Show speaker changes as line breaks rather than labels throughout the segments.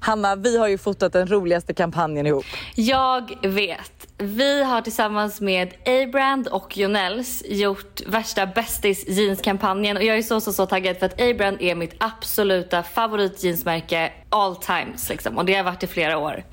Hanna, vi har ju fotat den roligaste kampanjen ihop.
Jag vet. Vi har tillsammans med A-Brand och Jonells gjort värsta bästis jeanskampanjen och jag är så så så taggad för att A-Brand är mitt absoluta favorit jeansmärke all times liksom och det har varit i flera år.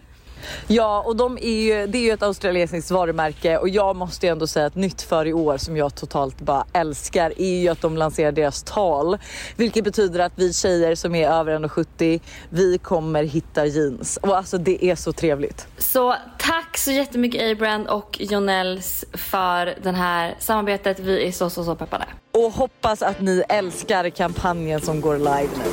Ja, och de är ju, det är ju ett australiensiskt varumärke och jag måste ju ändå säga att nytt för i år som jag totalt bara älskar är ju att de lanserar deras tal. Vilket betyder att vi tjejer som är över 1,70 vi kommer hitta jeans. Och alltså det är så trevligt.
Så tack så jättemycket A-Brand och Jonells för det här samarbetet. Vi är så så så peppade.
Och hoppas att ni älskar kampanjen som går live nu.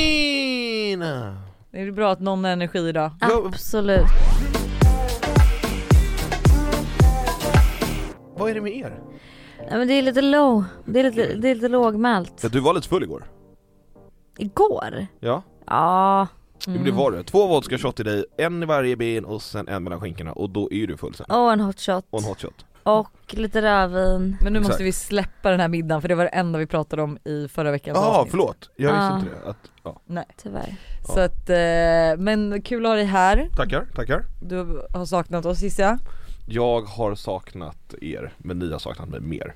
Gina!
Är det bra att någon har energi idag?
Absolut.
Vad är det med er?
Nej, men det är lite low, det är lite, det är lite lågmält.
Ja, du var lite full igår.
Igår?
Ja,
Ja,
det blev var du. Två vodka shot i dig, en i varje ben och sen en mellan skinkorna och då är ju du full sen.
och en hot shot.
Och en hot shot.
Och lite rödvin.
Men nu
Exakt.
måste vi släppa den här middagen för det var det enda vi pratade om i förra veckans
Ja, ah,
avsnitt.
förlåt. Jag visste
Ah.
inte det. Att, ja.
Tyvärr.
Så att, eh, men kul att ha dig här.
Tackar, tackar.
Du har saknat oss gissar jag.
Jag har saknat er, men ni har saknat mig mer.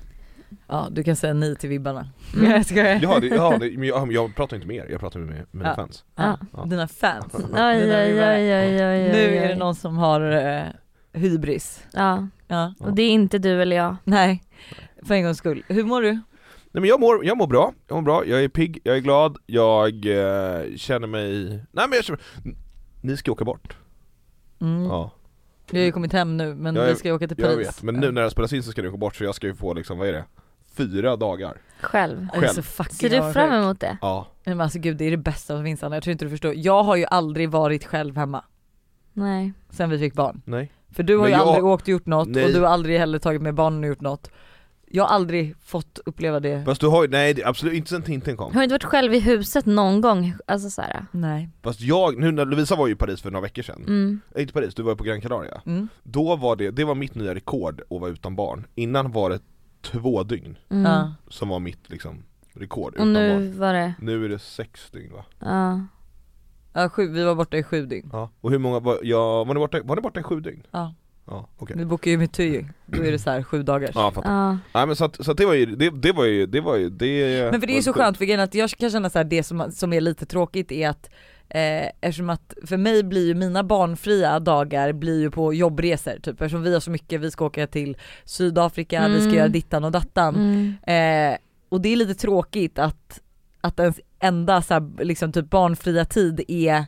Ja, du kan säga nej till vibbarna. Jag skojar.
Ja, det, ja, det, men jag, jag pratar inte med er, jag pratar med, med mina
Ja.
fans.
Ja.
Ja.
Dina fans.
Oj, oj,
Dina
oj,
vibbare.
oj, oj, oj,
Nu
oj.
är det någon som har eh, hybris.
Ja,
Ja.
och det är inte du eller jag.
Nej, för en gångs skull. Hur mår du?
Nej men jag mår, jag mår bra, jag mår bra, jag är pigg, jag är glad, jag eh, känner mig... Nej men jag känner... N- Ni ska åka bort.
Mm.
Ja,
Du har ju kommit hem nu men
Jag-
vi ska ju åka till Paris.
jag vet. Men nu när det spelas in så ska ni åka bort så jag ska ju få liksom, vad är det? Fyra dagar.
Själv.
Jag är så
själv.
fucking
Ser du
avundsjuk.
fram emot det?
Ja.
Nej, men alltså gud det är det bästa som finns Anna, jag tror inte du förstår. Jag har ju aldrig varit själv hemma
Nej.
sen vi fick barn.
Nej.
För du har
Men
ju
jag-
aldrig åkt och gjort något och
Nej.
du har aldrig heller tagit med barnen och gjort något. Jag har aldrig fått uppleva det.
Fast du har ju, nej det är absolut inte sen Tintin kom.
Har du inte varit själv i huset någon gång? Alltså såhär.
Nej.
Fast jag, nu när Lovisa var ju i Paris för några veckor sedan.
Mm.
Nej, Inte Paris, du var ju på Gran Canaria.
Mm.
Då var det, det var mitt nya rekord att vara utan barn. Innan var det två dygn
Mm.
Ja.
som var mitt liksom rekord
Och
utan
nu
barn.
var det,
Nu är det sex dygn va?
ja.
Ja, sju, vi var borta i sju dygn.
Ja, och hur många var, ja, var, ni borta, var ni borta i sju dygn?
Ja.
Ja, okej.
Vi bokar ju med Tyg, då är det så här sju dagar.
Ja, fattar.
ja.
Nej men så att, så att det var ju, det, det var ju, det var ju, det
Men för det är ju så skönt för grejen att jag kan känna så här, det som, som är lite tråkigt är att eh, eftersom att för mig blir ju mina barnfria dagar blir ju på jobbresor typ eftersom vi har så mycket, vi ska åka till Sydafrika, vi ska
Mm.
göra dittan och dattan.
Mm.
Eh, och det är lite tråkigt att, att ens enda så här, liksom typ barnfria tid är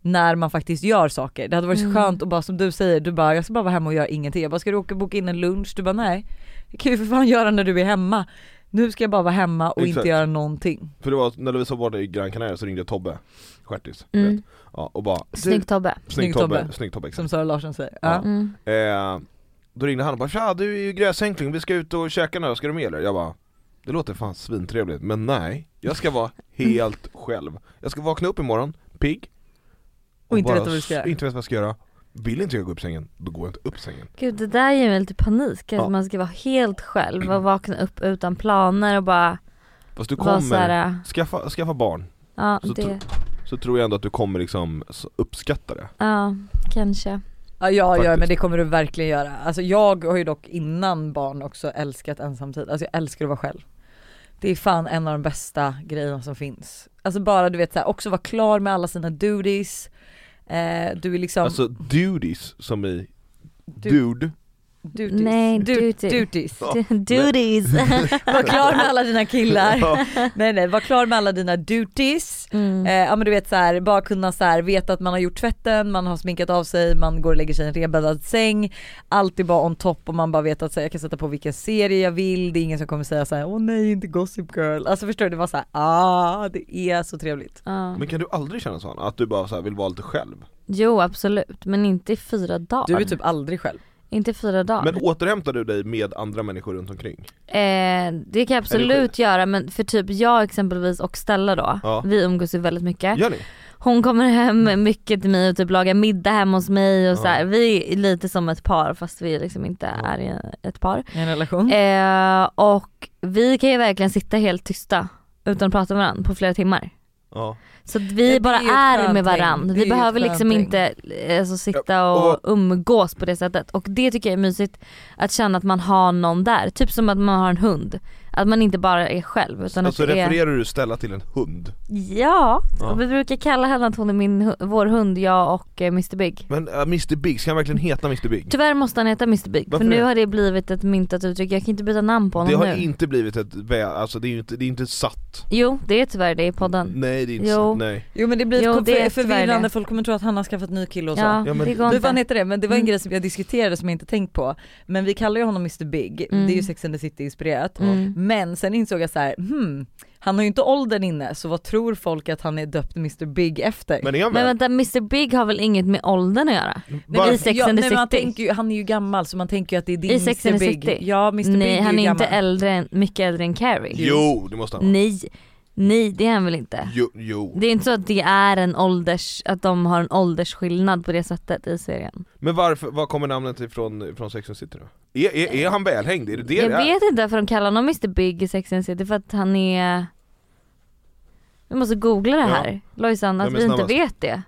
när man faktiskt gör saker. Det hade varit så
Mm.
skönt och bara som du säger, du bara jag ska bara vara hemma och göra ingenting. Jag bara ska du åka och boka in en lunch? Du bara nej, det kan ju för fan göra när du är hemma. Nu ska jag bara vara hemma och
Exakt.
inte göra någonting.
För det var, när Lovisa var borta i Gran Canaria så ringde jag Tobbe, stjärtis, du
Mm.
vet. Ja, och bara
Snygg Tobbe.
du, snygg Tobbe,
Tobbe.
snygg Tobbe exakt.
Som Sara Larsson säger. Ja.
Mm.
Eh, då ringde han och bara tja du är ju gräsänkling, vi ska ut och käka nu, ska du med eller? Jag bara det låter fan svintrevligt, men nej, jag ska vara helt själv. Jag ska vakna upp imorgon, pigg
Och inte
bara
veta vad du ska
s-
göra.
Inte vet vad jag ska göra. Vill inte jag gå upp sängen, då går jag inte upp sängen.
Gud det där ger mig lite panik, att
Ja.
man ska vara helt själv och vakna upp utan planer och bara
Fast du
vara
kommer,
såhär,
skaffa, skaffa barn,
ja
Så
det,
så tror jag ändå att du kommer liksom s- uppskatta det.
ja kanske.
Ja, ja, ja
Faktiskt.
men det kommer du verkligen göra. Alltså jag har ju dock innan barn också älskat ensamtid. Alltså jag älskar att vara själv. Det är fan en av de bästa grejerna som finns. Alltså bara du vet så här, också vara klar med alla sina duties. Eh, du är liksom,
Alltså duties som i
Du-
dude,
duties.
Nej,
Du-
duty.
duties.
Ja,
Duties!
Var klar med alla dina killar. nej nej, var klar med alla dina duties.
mm.
Eh, ja men du vet så här, bara kunna så här, veta att man har gjort tvätten, man har sminkat av sig, man går och lägger sig i en rebäddad säng. Allt är bara on top och man bara vet att så här, jag kan sätta på vilken serie jag vill, det är ingen som kommer säga så här: åh nej inte Gossip Girl. Alltså förstår du, det var så här, ah det är så trevligt.
Ja.
men kan du aldrig känna sån? Att du bara så här vill vara lite själv?
Jo absolut, men inte i fyra
Du
dagar.
är typ aldrig själv.
Inte i fyra dagar.
Men återhämtar du dig med andra människor runt omkring?
Eh, det kan jag absolut göra men för typ jag exempelvis och Stella då,
Ja.
vi umgås ju väldigt mycket.
Gör ni?
Hon kommer hem mycket till mig och typ lagar middag hemma hos mig och
Ja.
så här. vi är lite som ett par fast vi liksom inte
Ja.
är i ett par.
I en relation.
Eh, och vi kan ju verkligen sitta helt tysta utan att prata med varandra på flera timmar.
Ja.
Så att
Ja,
vi
det
bara
är ju ett
är
skönt
med
ting.
varandra.
Det är
Vi
ju ett
behöver
skönt
liksom
ting.
inte eh, alltså, sitta
Ja,
och umgås på det sättet. Och det tycker jag är mysigt, att känna att man har någon där. Typ som att man har en hund. Att man inte bara är själv utan
Alltså
att det är...
refererar du Stella till en hund?
Ja,
Ja.
och vi brukar kalla henne att hon är min, hu- vår hund, jag och eh, Mr Big.
Men äh, Mr Big, ska han verkligen heta Mr Big?
Tyvärr måste han heta Mr Big
Varför
för nu
det?
har det blivit ett myntat uttryck, jag kan inte byta namn på
Det
honom
har
nu.
inte blivit ett vä- alltså det är ju inte, det är inte satt
Jo, det är tyvärr det i podden.
Nej det är inte
Jo.
satt, nej
Jo men det blir
Jo,
kom-
det är tyvärr
förvirrande,
det.
folk kommer tro att han har skaffat ny kille och så.
Ja,
Ja, men-
det går
Du, vad
inte.
heter det? Men det var en
Mm.
grej som jag diskuterade som jag inte tänkt på. Men vi kallar ju honom Mr Big,
Mm.
det är ju Sex and the City inspirerat.
Mm.
Men sen insåg jag så här, hmm, han har ju inte åldern inne så vad tror folk att han är döpt Mr Big efter?
Men är han
Men
väl?
vänta, Mr Big har väl inget med åldern att göra?
Var-
i Sex and the
nej, men man
City.
tänker ju, han är ju gammal så man tänker ju att det är din
I Sex and
Mr
the
Big.
City?
Ja Mr Big är
Nej,
ju
han är
gammal.
inte äldre än, mycket äldre än Carrie.
Jo det måste han vara.
Nej, nej det är han väl inte.
Jo, jo.
Det är inte så att det är en ålders, att de har en åldersskillnad på det sättet i serien.
Men varför, var kommer namnet ifrån, från Sex and the City då? Är, är, är han välhängd? Är det det
jag
det är?
vet inte varför de kallar honom Mr Big i Sex and the City för att han är... Vi måste googla det
Ja.
här, Lojsan, att
Vem är
vi inte
snabbast?
vet det.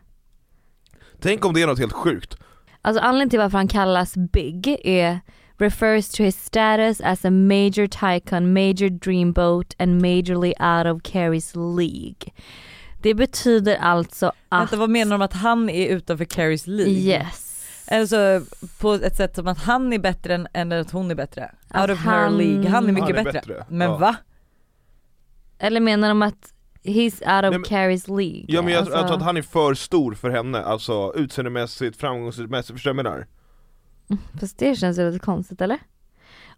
Tänk om det är något helt sjukt?
Alltså anledningen till varför han kallas Big är refers to his status as a major tycoon, major dreamboat and majorly out of Carries League. Det betyder alltså att...
Vänta, vad menar de att han är utanför Carries liv?
Yes.
Alltså på ett sätt som att han är bättre än, än att hon är bättre.
Att
Out of her
han-
league, han är mycket
Han är
bättre.
bättre,
Men
ja.
va?
Eller menar de att he's out of
Nej, men-
Carries League?
Ja men jag,
Alltså-
jag tror att han är för stor för henne, alltså utseendemässigt, framgångsmässigt, förstår du vad jag menar?
Fast det känns ju lite konstigt eller?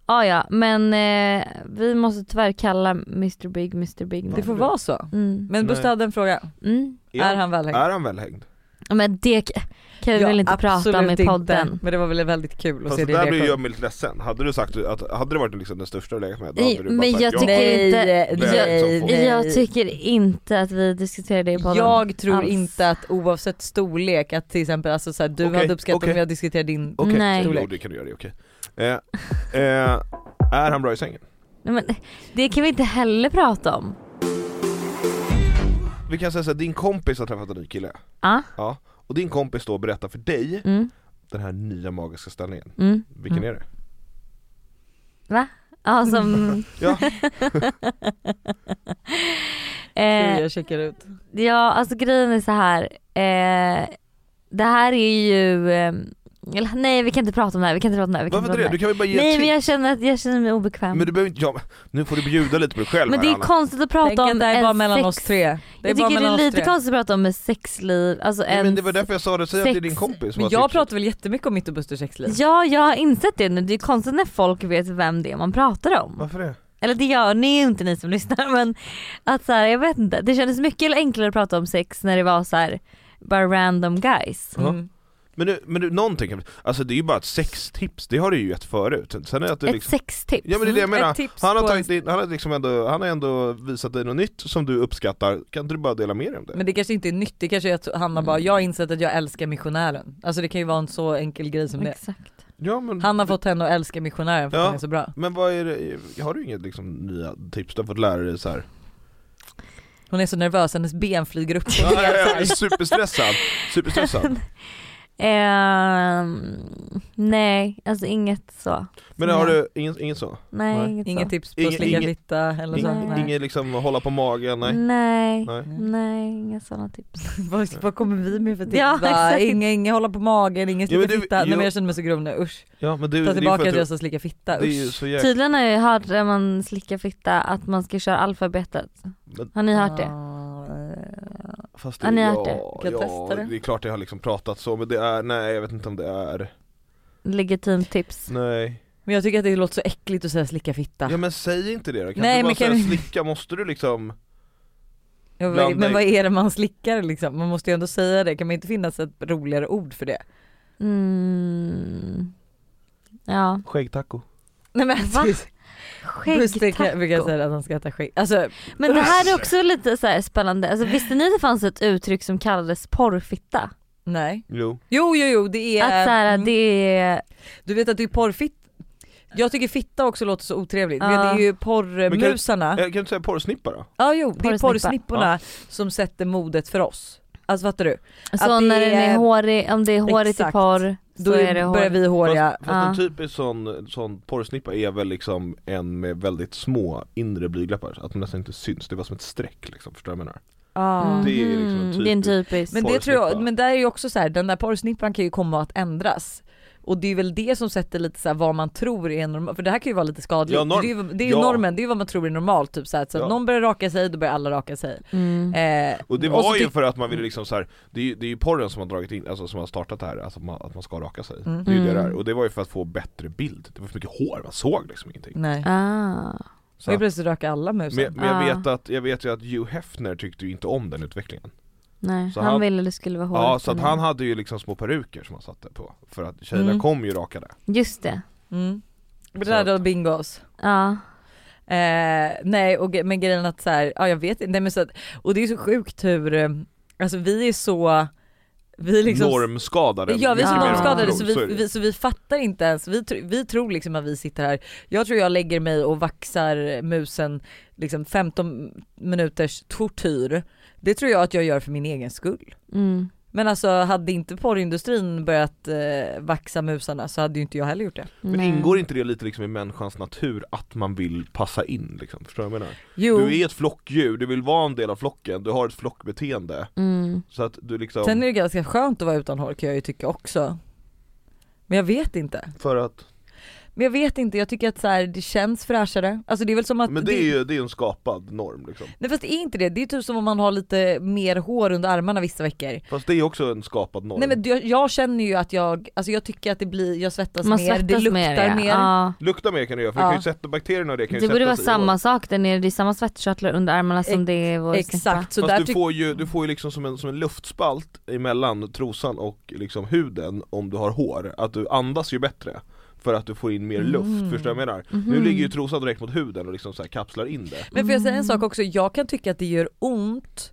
Ah, ja, men eh, vi måste tyvärr kalla Mr Big Mr Big nu.
Det får vara så.
Mm.
Men
Nej.
Buster hade en fråga,
Mm.
är han välhängd?
Är han välhängd?
Men det k- kan vi väl inte prata om i
absolut
podden?
Inte. Men det var väl väldigt kul att
Fast
se
det
din
där blir
reaktion.
jag mig lite ledsen, hade du sagt att, hade det varit liksom den största du legat med, då
Nej,
hade du bara
men
sagt
jag
ja.
tycker- inte-
jag- Nej.
Jag tycker inte att vi diskuterar det i podden.
Jag tror
alls.
inte att oavsett storlek att till exempel alltså så här, du
Okej,
hade uppskattat
okej.
om jag diskuterade din
Okej,
Nej.
jo det kan du göra, det är okej. Eh, eh, är han bra i sängen?
Nej, men, det kan vi inte heller prata om.
Vi kan säga såhär, din kompis har träffat en ny kille,
Ja,
ja, och din kompis då berättar för dig
Ah, mm,
den här nya magiska ställningen,
mm.
vilken är det?
Ja, Ah, som,
Ja,
Gud,
eh,
jag checkar ut.
ja alltså grejen är så här. Eh, det här är ju, eh, eller, nej vi kan inte prata om det här, vi kan inte prata om det här. Vi kan
varför
inte prata
inte det?
om
Du kan väl bara ge
det här. Nej
ett
men
tips?
jag känner, att, jag känner mig obekväm.
Men
Men,
du behöver inte, ja, men nu får du bjuda lite på dig själv
det
här,
är
Anna.
konstigt att prata
Tänk
om
att det här är bara
en
mellan
sex...
oss tre. Det är
jag
bara
tycker det
mellan
är
oss
lite
tre.
konstigt att prata om ett sexliv, alltså
Nej,
en...
men det var därför jag sa det, säg att typ- det är
sex-
din kompis som
Men
har
jag
tipsat.
pratar väl jättemycket om mitt och Busters sexliv?
Ja jag har insett det nu, det är konstigt när folk vet vem det är man pratar om.
Varför det?
Eller det gör ni ju inte ni som lyssnar men att så här, jag vet inte. Det kändes mycket enklare att prata om sex när det var så här bara random guys.
Ja.
Mm.
Men du, men du, någonting kan- Alltså det är ju bara ett sextips, det har du ju gett förut, sen är det att du
Ett
liksom
sextips.
Ja men det är det jag
Mm,
menar,
ett tips
han har,
på
tagit in, han, har liksom ändå, han har ändå visat dig något nytt som du uppskattar, kan inte du bara dela med dig om det?
Men det kanske inte är nytt, det kanske är att Hanna
Mm.
bara, jag har insett att jag älskar missionären. Alltså det kan ju vara en så enkel grej som det.
Exakt.
ja, men,
Han har fått henne att älska missionären för
Ja.
att han är så bra.
men vad är det, har du inget liksom nya tips du har fått lära dig så här?
Hon är så nervös, hennes ben flyger upp.
Ja, jag är superstressad, superstressad.
Ehm, nej, alltså inget så.
Men har du inget, inget så?
Nej,
Nej.
inget
Inget
så.
tips på
Ingen-
att slicka
ingen-
fitta eller så?
Ing-
Nej.
Nej.
Inget liksom hålla på magen, nej?
Nej,
Nej.
nej, inga sådana tips.
Mm. Vad, vad kommer vi med för tips?
Ja,
Ja,
exakt.
inga, inga hålla på magen, ingen
Ja, men
slicka
du-
fitta. Nej
jo.
men jag känner mig så grov nu, usch.
Ja men du,
Ta
det är ju
tillbaka
för
att jag
att
sa slicka
du,
fitta,
det är ju
usch. Typ.
så jäkla,
Tydligen har jag hört när man slickar fitta att man ska köra alfabetet.
Men-
Har ni hört det?
Ah,
fast
Ja, ni har hört
ja,
Kan jag
ja,
testa det?
det är klart jag har liksom pratat så men det är, nej jag vet inte om det är,
Legitimt tips.
nej
Men jag tycker att det låter så äckligt att säga slicka fitta.
Ja men säg inte det då, kan
Nej,
du bara
men kan
säga
vi-
slicka, måste du liksom
Ja, vad-
Blanda
men
i-
vad är det man slickar liksom? Man måste ju ändå säga det, kan man inte finnas ett roligare ord för det?
Mm. Ja.
Skäggtaco
Nej men
Va?
Buster
Skäggtaco.
kan- brukar säga att han ska äta skägg. Alltså,
Men det här är också lite så här spännande, alltså, visste ni att det fanns ett uttryck som kallades porrfitta?
nej.
Jo
Jo jo jo det är, Mm.
Att så här, det är,
du vet att det är porrfitt Jag tycker fitta också låter så otrevligt, men
Ja.
det är ju
kan-
porrmusarna,
Eh, Kan du inte säga porrsnippa då?
ja jo, det är
Porrsnippa.
porrsnipporna som sätter modet för oss. Alltså fattar du?
Så
Att det
när den är
är-
hårig, om det är hårigt i
Exakt.
porr så
Då
är det
börjar
hårigt.
vi håriga.
Fast, fast en
ja.
typisk sån, sån porrsnippa är väl liksom en med väldigt små inre blygdlappar, så att de nästan inte syns, det var som ett streck liksom, förstår du vad jag menar?
Ja.
Mhm,
Det är liksom en
det är en
typisk-
typisk.
Ah. Men det tror
Porrsnippa.
jag, men där är ju också så här, den där porrsnippan kan ju komma att ändras. Och det är väl det som sätter lite så här vad man tror är normalt, för det här kan ju vara lite skadligt.
Ja, norm-
det är ju, det är ju
ja.
normen, det är ju vad man tror är normalt typ så, här, så
Ja.
att någon börjar raka sig, då börjar alla raka sig.
Mm.
Eh,
Och det
så
var ju
tyck-
för att man ville liksom så här, det, är ju, det är ju porren som har dragit in, alltså som har startat det här, alltså att man, att man ska raka sig.
Mm.
Det är ju det
Mm.
där, och det var ju för att få bättre bild, det var för mycket hår, man såg liksom ingenting.
Nej,
Ah.
Så
och
att,
plötsligt raka alla musen.
men men jag,
Ah.
vet att, jag vet ju att Hugh Hefner tyckte ju inte om den utvecklingen.
Nej,
Så
han,
han-
ville att det skulle vara hårigt.
Ja, så att
men-
han hade ju liksom små peruker som han satte på, för att tjejerna
Mm.
kom ju rakade.
Just det.
Mm.
Så
Bröd och
att-
bingos.
Ja.
Eh, nej och, ge- men grejen att så här, ja jag vet inte, nej, men så att, och det är så sjukt hur, eh, alltså vi är så, vi är liksom
normskadade.
Ja vi är så
Mycket
Ja.
mer än
normskadade
man
så
tror,
vi,
är det.
vi, så vi fattar inte ens, vi, tr- vi tror liksom att vi sitter här, jag tror jag lägger mig och vaxar musen liksom 15 minuters tortyr. Det tror jag att jag gör för min egen skull.
Mm.
Men alltså hade inte porrindustrin börjat eh, vaxa musarna så hade ju inte jag heller gjort det.
Men
Nej.
ingår inte det lite liksom i människans natur att man vill passa in liksom? Förstår du vad jag menar?
Jo,
Du är ett flockdjur, du vill vara en del av flocken, du har ett flockbeteende
Mm.
Så att du liksom,
sen är det ganska skönt att vara utan hår kan jag ju tycka också. Men jag vet inte.
för att,
Men jag vet inte, jag tycker att så här, det känns fräschare. Alltså det är väl som att
men det är ju det är ju en skapad norm liksom
Nej fast det är inte det, det är typ som om man har lite mer hår under armarna vissa veckor.
Fast det är också en skapad norm
Nej men jag, jag känner ju att jag, alltså jag tycker att det blir, jag svettas
Man
mer,
svettas
det luktar
mer. ja.
mer.
Ja.
Lukta mer kan du göra, för
Ja.
du kan ju sätta bakterierna och det kan ju
Det borde vara
sätta sig i
samma
hår.
sak där nere, det är samma svettkörtlar under armarna som
Ex-
det är i vår snippa.
Exakt, så där
Fast du
tycker
får, ju, du får ju liksom som en, som en luftspalt emellan trosan och liksom huden om du har hår, att du andas ju bättre för att du får in mer luft,
Mm.
förstår du vad jag menar? Nu
Mhm.
ligger ju trosan direkt mot huden och liksom så här kapslar in det
Men får jag säga en
Mm.
sak också, jag kan tycka att det gör ont,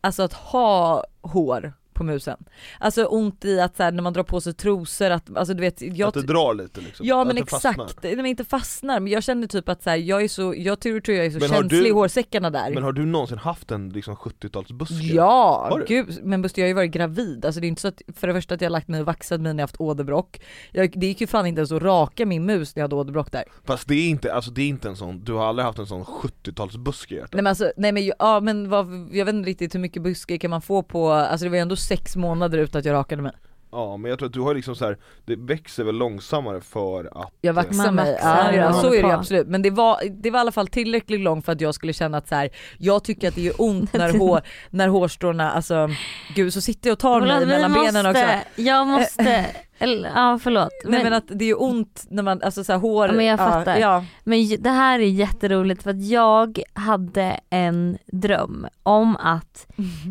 alltså att ha hår på musen. Alltså ont i att så här, när man drar på sig trosor, att, alltså du vet, jag
Att det drar lite liksom,
Ja
att
men
det fastnar.
exakt, nej, men inte fastnar men jag känner typ att så här, jag är så, jag tror, tror jag är så
Men har
känslig
du-
i hårsäckarna där.
Men har du någonsin haft en liksom 70-talsbuske? Har
Ja,
du?
gud, men Buster jag har ju varit gravid, alltså det är inte så att, för det första att jag har lagt mig och vaxat mig när jag haft åderbråck. Jag, det gick ju fan inte ens att raka min mus när jag hade åderbråck där.
Fast det är inte, alltså det är inte en sån, du har aldrig haft en sån 70-talsbuske i hjärtat?
Nej men alltså, nej men ja men vad, jag vet inte riktigt hur mycket buske kan man få på, alltså det var ju ändå sex månader utan att jag rakade mig.
Ja men jag tror att du har liksom så här, det växer väl långsammare för att
Jag
Man
vaxade mig, ja,
vaxar
ja,
och
så
håller
är det
på.
ju absolut. Men det var, det var i alla fall tillräckligt långt för att jag skulle känna att så här, jag tycker att det gör ont när, hår, när hårstråna, alltså gud så sitter jag och tar mig
Förlåt, vi
mellan benen också.
måste, Jag måste, eller, ja förlåt.
Nej men att det gör ont när man, alltså så här, hår,
Ja, men jag fattar.
ja.
Men j- det här är jätteroligt för att jag hade en dröm om att,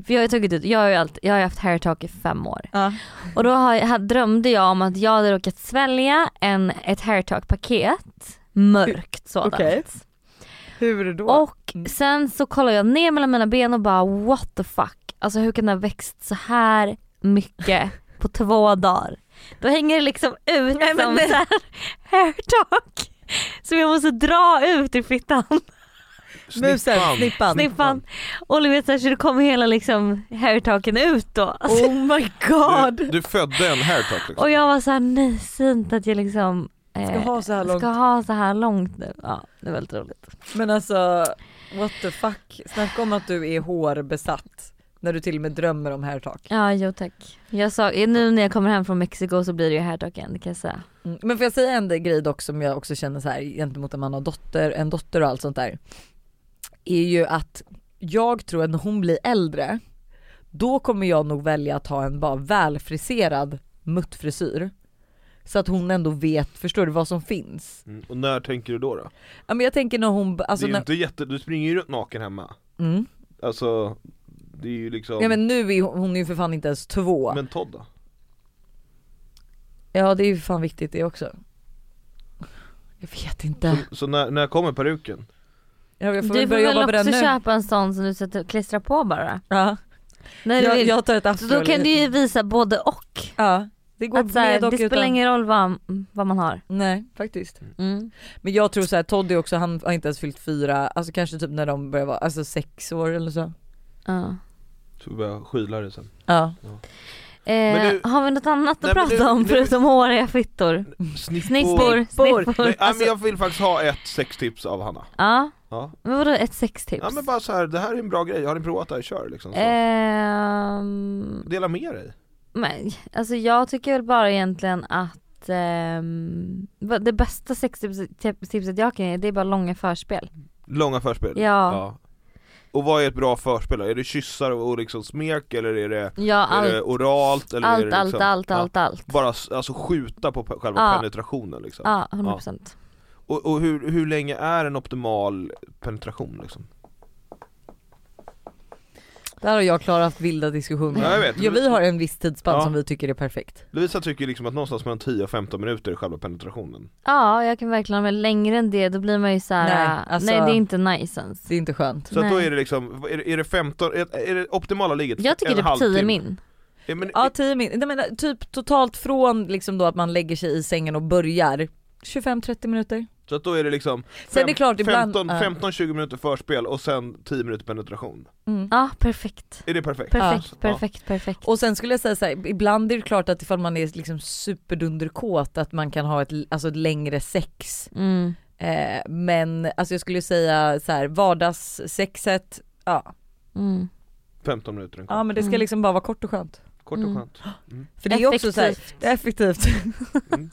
för jag har ju tagit ut, jag har ju, alltid, jag har ju haft hair talk i fem år
Ja.
och då har, jag- drömde jag om att jag hade råkat svälja en, ett hair talk paket, mörkt sådant.
Okej. Hur då?
Och
Mm.
sen så kollar jag ner mellan mina ben och bara what the fuck, alltså hur kan det ha växt så här mycket på två dagar? Då hänger det liksom ut
Nej, men
som
nej.
så här hair talk som jag måste dra ut i fittan.
Musen, snippan.
snippan. Och du vet så här, så det kom hela liksom hairtalken ut då. Alltså,
Oh my god!
Du, du födde en hairtalk liksom?
Och jag var så här nej fint att jag liksom eh,
Ska ha så här långt.
ska ha så här långt nu. Ja det är väldigt roligt.
Men alltså what the fuck, snacka om att du är hårbesatt när du till och med drömmer om hairtalk.
Ja jo tack. Jag sa, nu när jag kommer hem från Mexiko så blir det ju hairtalken det kan jag säga.
Mm. Men får jag säga en grej dock som jag också känner så här gentemot när man har dotter, en dotter och allt sånt där. Är ju att jag tror att när hon blir äldre då kommer jag nog välja att ha en bara välfriserad muttfrisyr. Så att hon ändå vet, förstår du vad som finns?
Mm, och när tänker du då? då?
Ja men jag tänker när hon, alltså
det är ju
när,
inte jätte, du springer ju runt naken hemma
mm.
Alltså, det är ju liksom,
Ja men nu är hon, hon är ju för fan inte ens två.
men Todd då?
Ja det är ju för fan viktigt det också. Jag vet inte.
Så, så när, när kommer peruken?
Jag, jag får
Du
väl
får
börja
väl
jobba med den
också
nu.
köpa en sån som du sätter klistrar på bara.
Ja.
När du
Jag,
vill.
jag tar ett
så
afro.
då kan du ju visa både och.
Ja. Det går
Att så här,
med och
det spelar
utan.
ingen roll vad, vad man har.
Nej faktiskt.
Mm.
Men jag tror såhär Toddy också, han har inte ens fyllt fyra, alltså kanske typ när de börjar vara, alltså sex år eller så.
Ja.
Så vi börjar skyla det sen
Ja.
Eh,
du-
har vi något annat att
Nej, men
prata
du-
om
du-
förutom håriga fittor?
Snippor
Snippor, snippor.
Nej, men jag vill faktiskt ha ett sextips av Hanna
Ja,
Ja,
men vadå ett sextips?
ja men bara så här, det här är en bra grej, har ni provat det här, kör liksom så.
Eh. Ehm,
Dela med dig
men, alltså jag tycker väl bara egentligen att ehm, vad- det bästa sextipset jag kan ge det är bara långa förspel.
Långa förspel?
Ja.
Och vad är ett bra förspel då? Är det kyssar och och liksom smek eller är det,
Ja, allt,
är det oralt? Eller är
allt,
det
allt,
liksom,
allt,
Ja.
allt, allt.
Bara s- alltså skjuta på pe- själva
Ja.
penetrationen liksom?
Ja, 100%.
Och, och hur, hur länge är en optimal penetration liksom?
Där har jag och Klara haft vilda diskussioner.
Ja, jag vet.
ja vi har en viss tidsspann
Ja.
som vi tycker är perfekt.
Lovisa tycker liksom att någonstans mellan 10 och 15 minuter är själva penetrationen
Ja, jag kan verkligen, men längre än det då blir man ju så här. äh,
Nej, alltså-
nej det är inte nice ens.
Det är inte skönt.
Så att då
Nej.
är det liksom, är det, är det 15, är, är det optimala ligget
Jag tycker
en
typ
halvtimme?
10 min.
Ja, men,
Ja 10 min, nej men typ totalt från liksom då att man lägger sig i sängen och börjar 25-30 minuter.
Så att då är det liksom
Sen är det klart ibland,
15,
ja.
15-20 minuter förspel och sen 10 minuter penetration
Mm.
Ja, perfekt.
Är det perfekt?
Perfekt,
Ja.
perfekt, perfekt.
Och sen skulle jag säga så här, ibland är det klart att ifall man är liksom superdunderkåt att man kan ha ett, alltså ett längre sex.
Mm.
Eh, men alltså jag skulle säga så här, vardagssexet, ja.
Mm.
15 minuter, en kvart,
ja men det ska
Mm.
liksom bara vara kort och skönt.
kort och
Mm.
skönt
För det är också så här,
Effektivt.
det är effektivt.
Mm.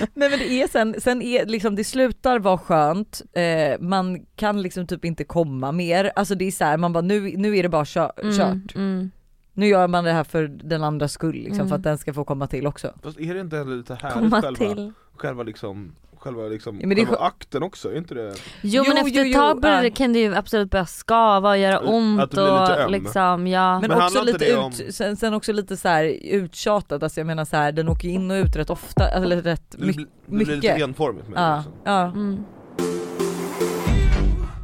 Nej men det är sen, sen är liksom det slutar vara skönt, eh, man kan liksom typ inte komma mer, alltså det är så här, man bara nu, nu är det bara kö- kört.
Mm.
Nu gör man det här för den andra skull liksom
Mm.
för att den ska få komma till också.
Fast är det inte heller lite härligt
Komma
själva,
till.
själva liksom, själva liksom,
Ja, men det är
själva akten också, är inte det?
Jo men
Jo,
efter
jo,
ett tag
jo,
börjar det-
ja.
kan det ju absolut börja skava och göra
Att-
ont
att det blir lite
och
öm.
liksom ja.
Men,
Men
också
handlar
lite
inte
ut,
det om-
sen, sen också lite så här uttjatat, alltså jag menar så här, den åker in och ut rätt ofta, eller rätt
Det,
mycket.
blir- det blir lite
mycket.
enformigt med det
Ja,
liksom.
ja.
Mm.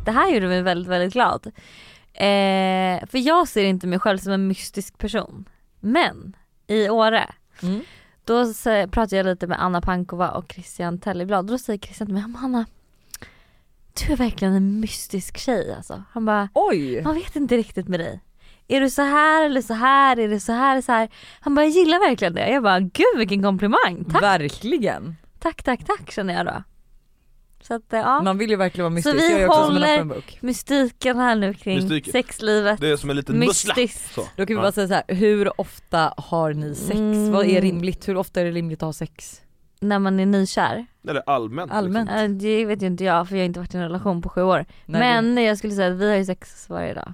Det här gjorde mig väldigt väldigt glad. Eh, för jag ser inte mig själv som en mystisk person. Men i Åre
Mm.
då sä- pratade jag lite med Anna Pankova och Christian Telleblad och då säger Christian till mig, "Men Anna du är verkligen en mystisk tjej alltså. Han bara
Oj!
Man vet inte riktigt med dig. Är du så här eller så här? Är det så här så här? Han bara, jag gillar verkligen det. Jag bara, gud vilken komplimang. Tack,
Verkligen!
tack, tack, tack känner jag då. Så att eh, ja,
Man vill ju verkligen vara mystisk,
vi
jag är också som en
håller-
öppen bok.
mystiken här nu kring
Mystiken.
sexlivet.
Det är som en liten mussla
Mystiskt.
så.
Då kan vi
Ja.
bara säga så här, hur ofta har ni sex?
Mm.
Vad är rimligt? Hur ofta är det rimligt att ha sex?
När man är nykär.
Eller allmänt,
Allmänt.
Liksom.
Eh, Det vet ju inte jag för jag har inte varit i en relation på sju år.
Nej,
Men jag skulle säga att vi har ju sex varje dag.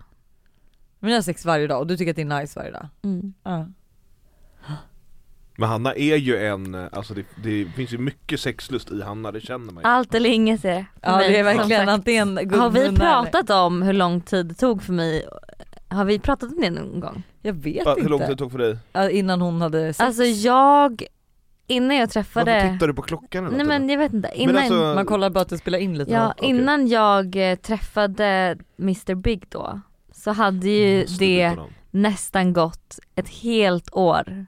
Men ni har sex varje dag och du tycker att det är nice varje dag?
Mm.
Ja.
Men Hanna är ju en, alltså det, det finns ju mycket sexlust i Hanna, det känner man ju
Allt eller inget är det. för
Ja
mig,
det är
som
verkligen
sagt.
antingen
Har vi
guldmunnar eller-
pratat om hur lång tid det tog för mig? Har vi pratat om det någon gång?
Jag vet
Va, Hur lång tid
inte.
det tog för dig?
Ja, Innan hon hade sex.
Alltså jag, innan jag
Varför
träffade,
tittar du på klockan hela
nej
tiden?
men jag vet inte, innan,
men alltså,
Man kollar bara att det spelar in lite.
ja,
okej.
innan jag eh, träffade Mr Big då så hade ju
måste
det
byta namn.
nästan gått ett helt år.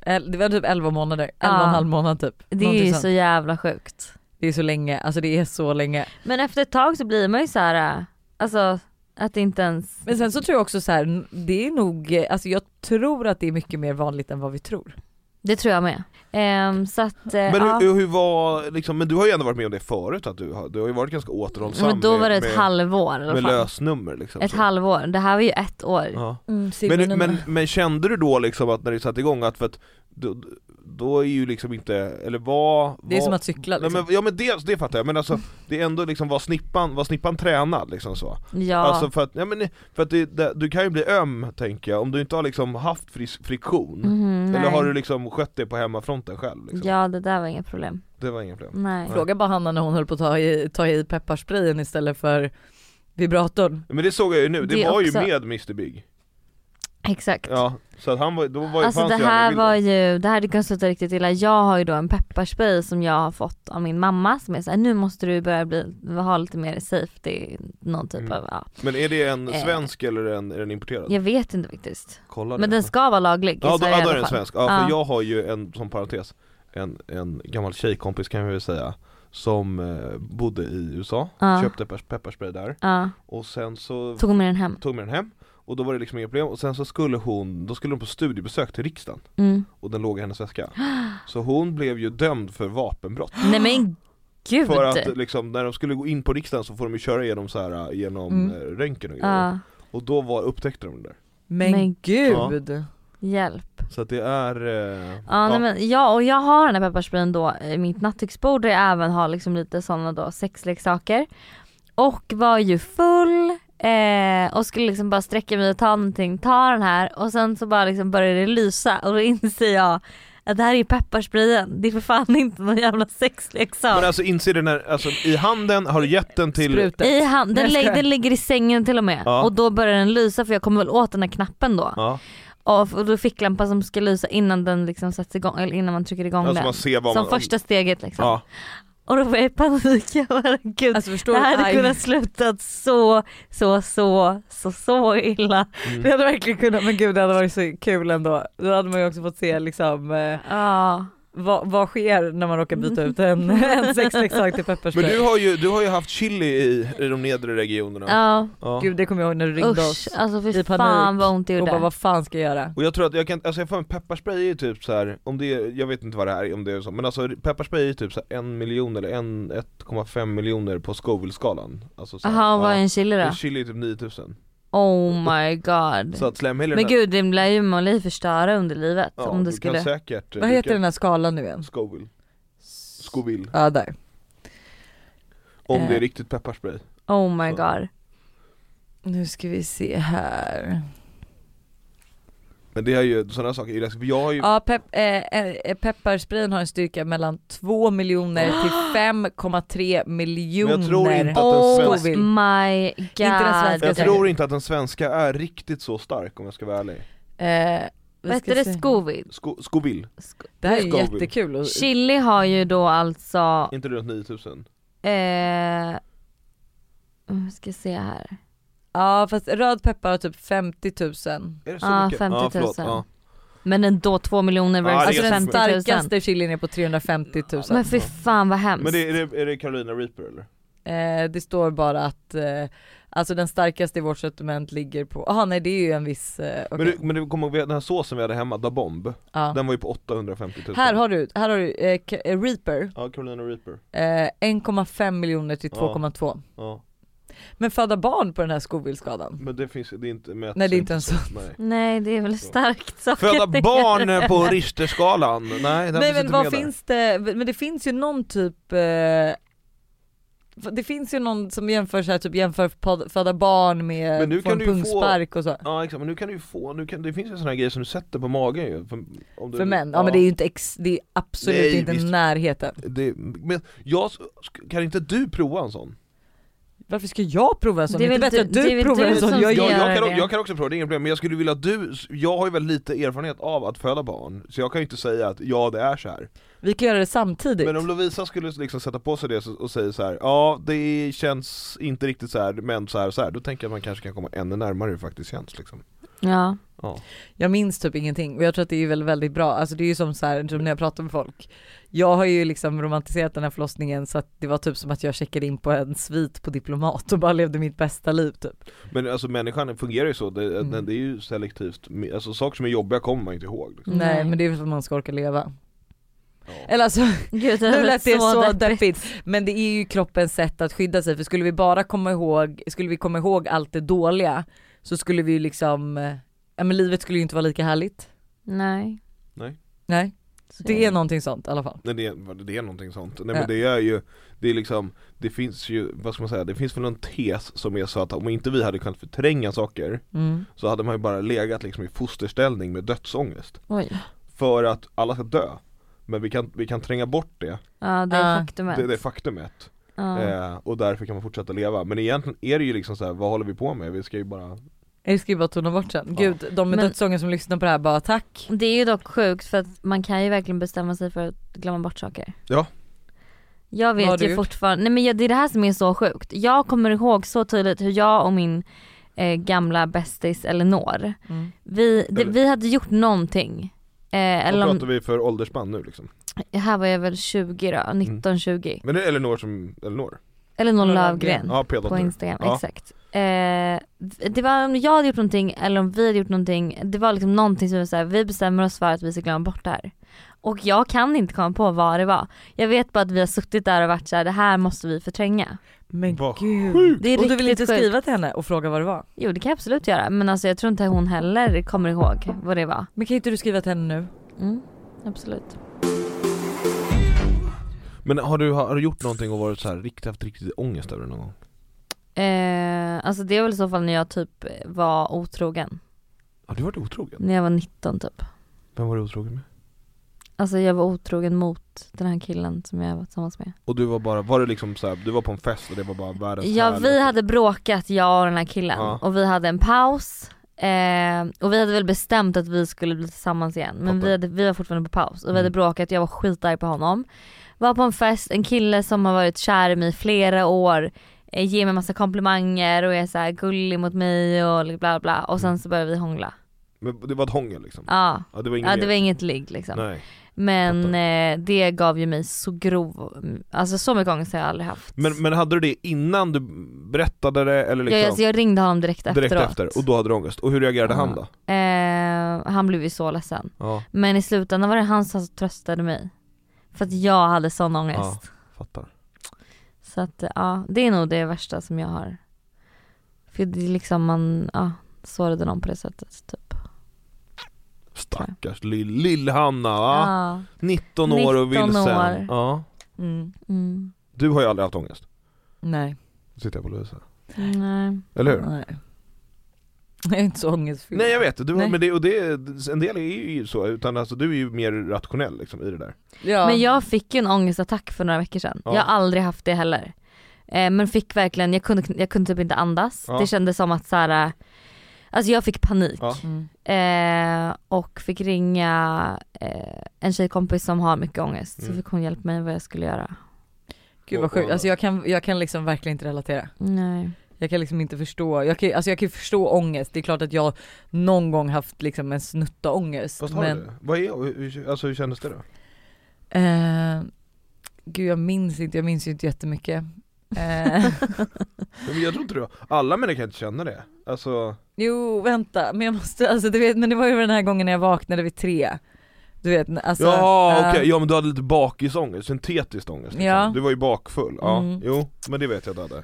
El- Det var typ 11 månader, 11
Ja.
och en halv månad typ.
Det är
Någonting
ju
sånt.
så jävla sjukt.
det är så länge, alltså det är så länge.
Men efter ett tag så blir man ju så här, eh, alltså att det inte ens,
Men sen så tror jag också så här, n- det är nog, eh, alltså jag tror att det är mycket mer vanligt än vad vi tror.
det tror jag med. Ehm, så att, eh,
Men
ja.
hur, hur var, liksom, men du har ju ändå varit med om det förut, att du har, du har ju varit ganska återhållsam
men då var det ett
med,
halvår i alla
med
fall.
lösnummer liksom
Ett
så.
halvår, det här var ju ett år.
ja.
Mm,
men, men, men kände du då liksom att när det satte igång att för att då, då är ju liksom inte, eller vad
det är
vad-
som att cykla liksom.
Nej, men, ja men det, det fattar jag, men alltså det är ändå liksom vad snippan, vad snippan tränar liksom så
Ja.
Alltså för att, ja, men, för att det, det, du kan ju bli öm tänker jag, om du inte har liksom haft frisk friktion
Mhm,
Eller
nej.
har du liksom skött det på hemmafronten själv liksom?
Ja det där var inga problem.
Det var inga problem
Nej.
Fråga bara Hanna när hon höll på att ta i, ta i pepparsprayen istället för vibratorn.
Men det såg jag ju nu, det,
Det
var ju
också.
med Mr Big
Exakt.
Ja, så att han var, då var ju
Alltså
fanns
det
ju han i
här
bilden.
var ju, det här det kan sluta riktigt illa. Jag har ju då en pepparspray som jag har fått av min mamma som är såhär, nu måste du börja bli, ha lite mer safety, någon typ
Mm.
av, ja.
Men är det en
Eh.
svensk eller en, är den importerad?
Jag vet inte faktiskt.
Kolla
Men den ska vara laglig i
Ja då,
Sverige
ja, då
i
är
alla
den
fall.
svensk, ja, för
Ja.
jag har ju en, som parentes, en, en gammal tjejkompis kan vi väl säga Som eh, bodde i USA,
Ja.
köpte pers- pepparspray där
Ja,
och sen så
tog hon med den hem.
tog med den hem och då var det liksom inga problem och sen så skulle hon, då skulle hon på studiebesök till riksdagen
Mm.
och den låg i hennes väska Så hon blev ju dömd för vapenbrott
Nej men gud!
För att liksom när de skulle gå in på riksdagen så får de ju köra genom så här eh, genom
Mm.
eh, röntgen och grejer
Ja,
Och då var, upptäckte de det där
Men,
Men
gud!
hjälp.
Så att det är eh,
Ja,
ja.
Nej, men, ja och jag har den här pepparsprayen då eh, i mitt nattduksbord där jag även har liksom lite sådana då sexleksaker. Och var ju full eh, och skulle liksom bara sträcka mig och ta någonting, ta den här och sen så bara liksom började det lysa och då inser jag att det här är ju pepparsprayen, det är för fan inte någon jävla sexleksak.
Men alltså inser den här, alltså i handen, har du gett den till
Sprutet.
I hand,
Nej,
den,
jag
lägg,
skojar.
den ligger i sängen till och med
Ja.
och då börjar den lysa för jag kommer väl åt den här knappen då.
Ja,
Och, och då ficklampan som ska lysa innan den liksom sätts igång, eller innan man trycker igång
alltså
den.
man ser vad
Som
man
första steget liksom.
ja.
Och då får jag panik, jag bara gud.
Alltså förstår
det
du?
här hade
Aj.
kunnat sluta så, så, så, så, så illa.
Mm.
Det hade verkligen kunnat, men gud det hade varit så kul ändå. Då hade man ju också fått se liksom eh,
Ja.
vad, vad sker när man råkar byta ut en, en sexleksak till
Men
pepparspray.
du har, ju, du har ju haft chili i, i de nedre regionerna
ja.
Ja.
Gud det kommer jag ihåg när du ringde
Usch,
oss
alltså
i
fy
panik
fan vad ont det
och
gjorde.
bara vad fan ska jag göra?
Och jag tror att jag kan, alltså jag får en pepparspray är ju typ så här, om det är, jag vet inte vad det är, om det är så, men alltså pepparspray är ju typ så här en miljon eller en, 1,5 miljoner på Scoville-skalan Alltså så här,
Jaha, vad är
ja.
en chili då?
En chili är typ 9000
Oh my god.
Så att slemhinnor
Men gud, det lär ju man lär ju förstöra under livet
ja,
om
du
det skulle.
kan säkert
Vad heter den här skalan nu igen?
Scoville Scoville,
Ja där.
om det
Eh.
är riktigt pepparspray
Oh my
Så.
god.
Nu ska vi se här.
Men det är ju, sådana saker är ju läskigt, för jag har ju
Ja, pep, eh, eh, pepparsprayen har en styrka mellan 2 miljoner till 5,3 miljoner.
Men jag tror inte att- den
Oh
svenska-
my
den
god.
svenska
Jag
säga.
tror inte att den svenska är riktigt så stark om jag ska vara ärlig
Eh, vi
Mm. Vad
ska
heter det?
se.
Scoville?
Sko, Scoville,
Det här är ju
Scoville.
jättekul. Och,
Chili har ju då alltså
inte runt 9000
Eh, vi ska se här.
ja fast röd peppar har typ 50 000.
Är det så
Ja,
mycket?
50 000.
förlåt, ja.
Men ändå 2 miljoner
Ja, det är
versus
Alltså
ganska
den
50 000.
starkaste chilin är på 350 000.
Men fy fan vad hemskt.
Men det, är, det, är det Carolina Reaper eller?
Mm.
Eh, det står bara att eh, alltså den starkaste i vårt sortiment ligger på, ah nej det är ju en viss, eh, okej.
Men, du, men du kommer ihåg den här såsen vi hade hemma, Da Bomb,
ja.
den var ju på 850 000
Här har du, här har du eh, K- eh, Reaper,
Ja, Carolina Reaper,
eh, 1,5 miljoner till
Ja.
2,2.
ja
Men föda barn på den här Scoville-skadan?
Men det finns, det är inte mäts
Mm. Nej det är inte en
ens
sån.
Nej.
Nej det är väl
Så.
starkt saker.
Föda barn på Richterskalan, nej den
Nej
finns
men
inte
vad
med där.
finns det, men det finns ju någon typ eh, det finns ju någon som jämför så här, typ jämför pod- föda barn med
Men nu
få
kan
en
du ju få-
pungspark och så.
Ja exakt, men nu kan du ju få, nu kan, det finns ju såna här grejer som du sätter på magen ju för, om du,
För män, ja, men det är ju inte ex, det är absolut
Nej,
inte
visst.
närheten.
det, men jag, sk- kan inte du prova en sån?
Varför ska jag prova en sån?
Det
Det
är
är inte
väl
bättre
du-
att
det är
du
väl
provar
du
en
som
sån, jag
ska
jag,
gör
jag,
göra
kan,
det.
o- jag kan också prova, det är inget problem, men jag skulle vilja att du, jag har ju väldigt lite erfarenhet av att föda barn, så jag kan ju inte säga att ja det är så här.
Vi kan göra det samtidigt.
Men om Lovisa skulle liksom sätta på sig det så- och säga så här, ja det känns inte riktigt så här, men så här och så här, då tänker jag att man kanske kan komma ännu närmare hur det faktiskt känns liksom.
Ja.
Ja.
Jag minns typ ingenting och jag tror att det är väl väldigt bra, alltså det är ju som så här, typ när jag pratar med folk Jag har ju liksom romantiserat den här förlossningen så att det var typ som att jag checkade in på en svit på Diplomat och bara levde mitt bästa liv typ
Men alltså människan fungerar ju så, det,
Mm.
den- det är ju selektivt, alltså saker som är jobbiga kommer man inte ihåg. Liksom.
Nej.
Nej men det är väl för att man ska orka leva
Ja.
Eller alltså,
Gud, det
nu
lät
lät det så
deppigt.
deppigt Men det är ju kroppens sätt att skydda sig för skulle vi bara komma ihåg, skulle vi komma ihåg allt det dåliga så skulle vi ju liksom, eh, ja men livet skulle ju inte vara lika härligt
Nej.
Nej,
Så
det är någonting sånt i alla fall
Nej, det, är- det är någonting sånt. Nej
Ja.
men det är ju, det är liksom, det finns ju, vad ska man säga, det finns väl en tes som är så att om inte vi hade kunnat förtränga saker
mm.
så hade man ju bara legat liksom i fosterställning med dödsångest.
Oj.
För att alla ska dö. Men vi kan, vi kan tränga bort det,
Ja det är
Ja.
faktumet.
det, det faktumet.
Ja.
Eh, och därför kan man fortsätta leva. Men egentligen är det ju liksom så här, vad håller vi på med? Vi ska ju bara
Jag riskerar bara att tona bort sen. Gud, de med
Men-
dödsångest som lyssnar på det här bara tack.
Det är ju dock sjukt för att man kan ju verkligen bestämma sig för att glömma bort saker.
Ja.
Jag
Vad har
vet
du
ju
gjort?
fortfarande, nej men jag, det är det här som är så sjukt. Jag kommer ihåg så tydligt hur jag och min eh, gamla bästis Elinor,
Mm.
vi, det,
Eller-
vi hade gjort någonting. Eh,
Vad
eller
pratar
om,
vi för åldersspann nu liksom?
här var jag väl 20 då,
Mm.
19-20.
Men det är Elinor som, Elinor?
Eller någon
Någon
Lövgren.
Ja,
På
p-dotter.
Instagram,
Ja.
exakt. Eh, det var om jag hade gjort någonting eller om vi hade gjort någonting, det var liksom någonting som var så här, vi bestämmer oss för att vi ska glömma bort det här. Och jag kan inte komma på vad det var. Jag vet bara att vi har suttit där och varit så här, det här måste vi förtränga.
Men
Vad
gud.
sjukt!
Det är
Och du
riktigt
vill inte
sjukt.
skriva till henne och fråga vad det var?
Jo det kan jag absolut göra men alltså jag tror inte hon heller kommer ihåg vad det var.
Men kan inte du skriva till henne nu?
Mm, absolut.
Men har du, har du gjort någonting och varit så här, riktigt, haft riktigt ångest över det någon gång?
Eh, alltså det var väl i så fall när jag typ var otrogen.
Har du varit otrogen?
När jag var 19 typ.
Vem var du otrogen med?
Alltså jag var otrogen mot den här killen som jag var tillsammans med.
Och du var bara, var det liksom så här, du var på en fest och det var bara världens
Ja vi
härligaste-
hade bråkat jag och den här killen
Ja.
och vi hade en paus eh, och vi hade väl bestämt att vi skulle bli tillsammans igen men
Fattar.
vi, hade, vi var fortfarande på paus och vi hade
Mm.
bråkat, jag var skitarg på honom. Var på en fest, en kille som har varit kär i mig i flera år eh, ger mig massa komplimanger och är så här gullig mot mig och bla, bla bla och
Mm.
sen så börjar vi hångla.
Men det var ett hångel liksom?
Ja,
Ja det var inget
ja det var
mer.
inget ligg liksom.
Nej.
Men eh, det gav ju mig så grov, alltså så mycket ångest har jag aldrig haft.
Men, men hade du det innan du berättade det eller liksom?
jag, alltså, jag ringde honom direkt efteråt.
direkt efter, och då hade du ångest. Och hur reagerade han då?
Eh, han blev ju så ledsen.
Ja,
Men i slutändan var det han som tröstade mig. För att jag hade sån ångest.
fattar.
Så att ja, det är nog det värsta som jag har. För det är liksom man, ja, sårade någon på det sättet typ.
Stackars lill- lill-Hanna, va?
Ja.
19 år och
19
vilsen.
år.
Ja.
Mm.
Mm.
Du har ju aldrig haft ångest.
Nej.
Nu sitter jag på Lovisa.
Nej.
Eller hur?
Nej. Jag är inte så ångestfylld.
Nej jag vet, du,
Nej.
men det, och det, en del är ju så, utan alltså du är ju mer rationell liksom i det där.
Ja.
Men jag fick ju en ångestattack för några veckor sedan.
Ja.
Jag har aldrig haft det heller. Eh, men fick verkligen, jag kunde, jag kunde typ inte andas.
Ja.
Det kändes som att så här, alltså jag fick panik.
Ja.
Mm.
Eh, och fick ringa eh, en tjejkompis som har mycket ångest. Så
Mm.
fick hon hjälpa mig vad jag skulle göra.
Gud vad sjukt, alltså jag kan, jag kan liksom verkligen inte relatera.
Nej.
Jag kan liksom inte förstå, jag kan, alltså jag kan förstå ångest, det är klart att jag någon gång haft liksom en snutta ångest.
Fast har
men,
du det? Vad är, hur, alltså hur kändes det då?
Eh, gud jag minns inte, jag minns ju inte jättemycket. Eh,
Men jag tror inte du, alla människor kan inte känna det. Alltså,
jo vänta, men jag måste, alltså du vet, men det var ju den här gången när jag vaknade vid tre. Du vet, alltså.
ja okej,
eh,
ja men du hade lite bakisångest, syntetisk ångest liksom.
Ja.
Du var ju bakfull, ja,
Mm.
jo men det vet jag att du hade.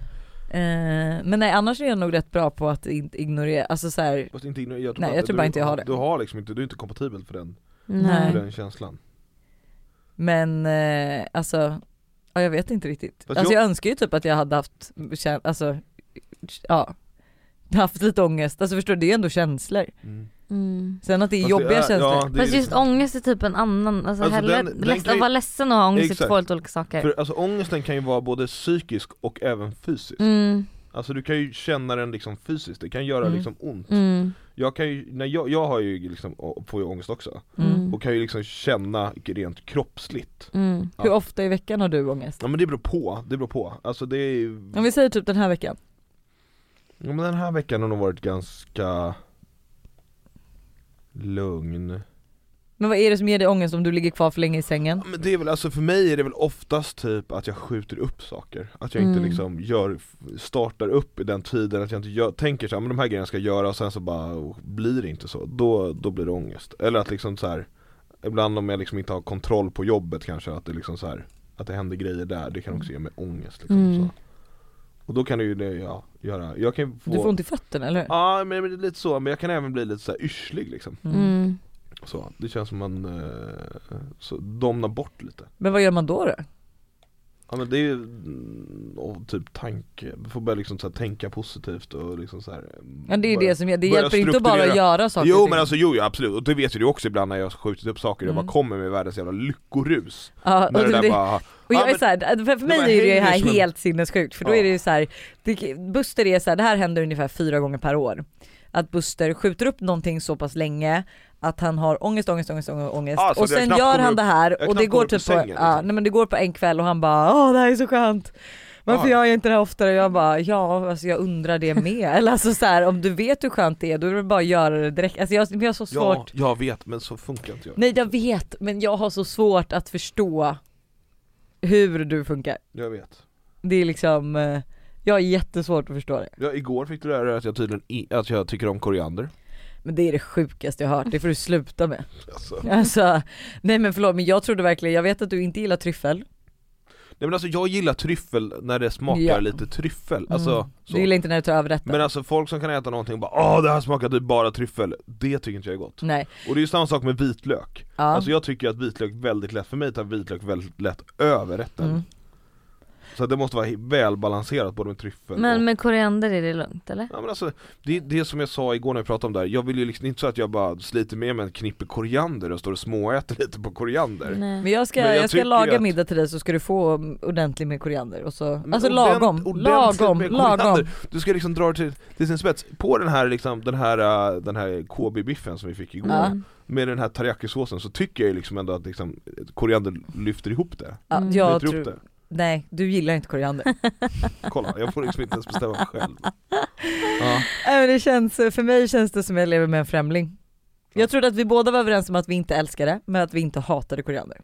eh, men nej annars är jag nog rätt bra på att inte ignorera, alltså så här,
Fast inte, jag tror
Nej,
att
jag tror
du,
bara inte jag har det.
Du har liksom inte, du är inte kompatibel för den,
Nej.
för den känslan.
men eh, alltså, ja, jag vet inte riktigt.
Fast
alltså
jag-
jag önskar ju typ att jag hade haft, kän- alltså, ja, haft lite ångest, alltså förstår du, det är ändå känslor.
Mm.
Mm.
Sen att det är
Fast
jobbiga känslor.
ja, det är
Fast just
liksom-
ångest är typ en annan, alltså,
Alltså
hellre,
den- den
ledsen,
kan ju-
att vara ledsen och ha ångest är
Exakt.
två helt olika saker.
För alltså ångesten kan ju vara både psykisk och även fysisk.
Mm,
Alltså du kan ju känna den liksom fysiskt, det kan göra
Mm.
liksom ont.
mm,
Jag kan ju, när jag, jag har ju liksom, å- får ju ångest också.
mm,
Och kan ju liksom känna rent kroppsligt.
mm.
Ja.
Hur ofta i veckan har du ångest?
Ja men det beror på, det beror på. Alltså det är ju,
Om vi säger typ den här veckan.
ja, men den här veckan har nog varit ganska lugn.
Men vad är det som ger dig ångest om du ligger kvar för länge i sängen?
Ja, men det är väl, alltså för mig är det väl oftast typ att jag skjuter upp saker. Att jag inte
Mm.
liksom gör, startar upp i den tiden, att jag inte gör, tänker såhär, men de här grejerna ska jag göra och sen så bara oh, blir det inte så. Då, då blir det ångest. Eller att liksom så här. ibland om jag liksom inte har kontroll på jobbet kanske, att det liksom så här, att det händer grejer där, det kan också ge mig ångest liksom.
Mm.
Så. Och då kan det ju det, ja, göra, jag kan ju få
Du får ont i fötterna eller hur?
Ja men men det är lite så, men jag kan även bli lite så här yrslig liksom.
Mm.
Så, det känns som man eh, så domnar bort lite.
Men vad gör man då då?
Ja men det är ju mm, och typ tanke, man får börja liksom så här, tänka positivt och liksom så här, mm,
Ja, det är ju
börja-
det som, det
börja
hjälper inte att bara
strukturera.
göra saker och
Jo
ting.
men alltså jo ja, absolut, och det vet ju du också ibland när jag har skjutit upp saker, jag
Mm.
bara kommer med världens jävla lyckorus
ja, och,
När det
det,
där
det,
bara,
och
Ja,
jag är
men-
så här, för- för
det
mig
bara
är det ju det här
hänger som en-
helt sinnessjukt för då
Ja.
är det ju så här, det, Buster är så här, det här händer ungefär fyra gånger per år. att Buster skjuter upp någonting så pass länge att han har ångest, ångest, ångest, ångest, ångest.
Ah, så
och
jag
sen
knappt
gör
kommer
han
upp-
det
jag
här och det
knappt
går
kommer upp ur
typ på,
sängen,
ja,
liksom.
nej, men det går på en kväll och han bara åh det här är så skönt. Varför
Ah.
gör jag inte det här oftare? Jag bara ja alltså jag undrar det med. Eller alltså så här, om du vet hur skönt det är då är det bara att göra det direkt. Alltså jag, men jag har så svårt.
Ja, jag vet men så funkar inte jag.
Nej jag vet men jag har så svårt att förstå hur du funkar.
Jag vet.
Det är liksom, eh, jag har jättesvårt att förstå det.
Ja, igår fick du lära dig att jag tydligen i, att jag tycker om koriander.
Men det är det sjukaste jag har hört, det får du sluta med.
Alltså.
Alltså, nej men förlåt men jag trodde verkligen, jag vet att du inte gillar tryffel.
Nej men alltså jag gillar tryffel när det smakar
Ja.
lite tryffel. Alltså,
Mm.
så.
Du gillar inte när du tar över detta.
Men alltså folk som kan äta någonting och bara Åh det här smakar typ bara tryffel, det tycker inte jag är gott.
nej.
Och det är ju samma sak med vitlök.
Mm. Ja.
Alltså jag tycker att vitlök väldigt lätt, för mig tar vitlök väldigt lätt över rätten.
Mm.
Så att det måste vara he- välbalanserat både med tryffel och
Men med koriander är det lugnt eller?
Ja men alltså, det är det som jag sa igår när vi pratade om det här, jag vill ju liksom inte så att jag bara sliter med mig en knippe koriander och står och småäter lite på koriander
Nej.
Men jag ska,
Men jag
jag ska
tycker
laga
att-
middag till dig så ska du få um, ordentligt med koriander och så,
Men
alltså
ordent-
lagom,
ordentligt
lagom,
med
lagom.
koriander. Du ska liksom dra det till, till sin spets, på den här liksom, den här, äh, den här KB-biffen som vi fick igår
Ja.
Med den här teriyakisåsen så tycker jag ju liksom ändå att liksom, koriander lyfter ihop det,
Ja,
Mm.
jag
lyfter
tror,
ihop det.
nej du gillar inte koriander.
Kolla, jag får liksom inte ens bestämma mig själv ja.
Nej, men det känns, för mig känns det som jag lever med en främling. Jag trodde att vi båda var överens om att vi inte älskade, men att vi inte hatade koriander.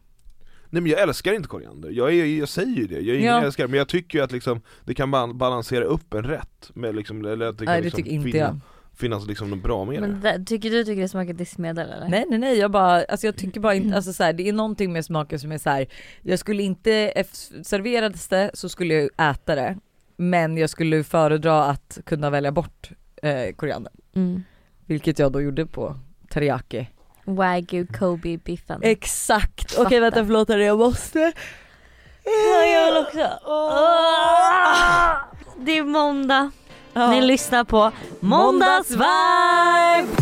Nej men jag älskar inte koriander, jag, är, jag säger ju det, jag är ingen
Ja.
älskare men jag tycker ju att liksom, det kan ban- balansera upp en rätt med liksom, eller att det kan
Nej det
liksom
tycker inte
finna-
jag.
finnas liksom något bra med
Men
det
det, tycker du tycker det smakar diskmedel eller?
Nej nej nej jag bara, alltså jag tycker bara inte, alltså så här, det är någonting med smaken som är så här. jag skulle inte, eff- serverades det så skulle jag äta det, men jag skulle föredra att kunna välja bort eh, koriander.
Mm.
Vilket jag då gjorde på teriyaki.
Wagyu Kobe biffen.
Exakt! Okej
Fattar.
vänta förlåt hörni, jag måste.
jag vill också. Det är måndag.
Ja.
Ni lyssnar på Måndagsvibe!
Måndagsvibe!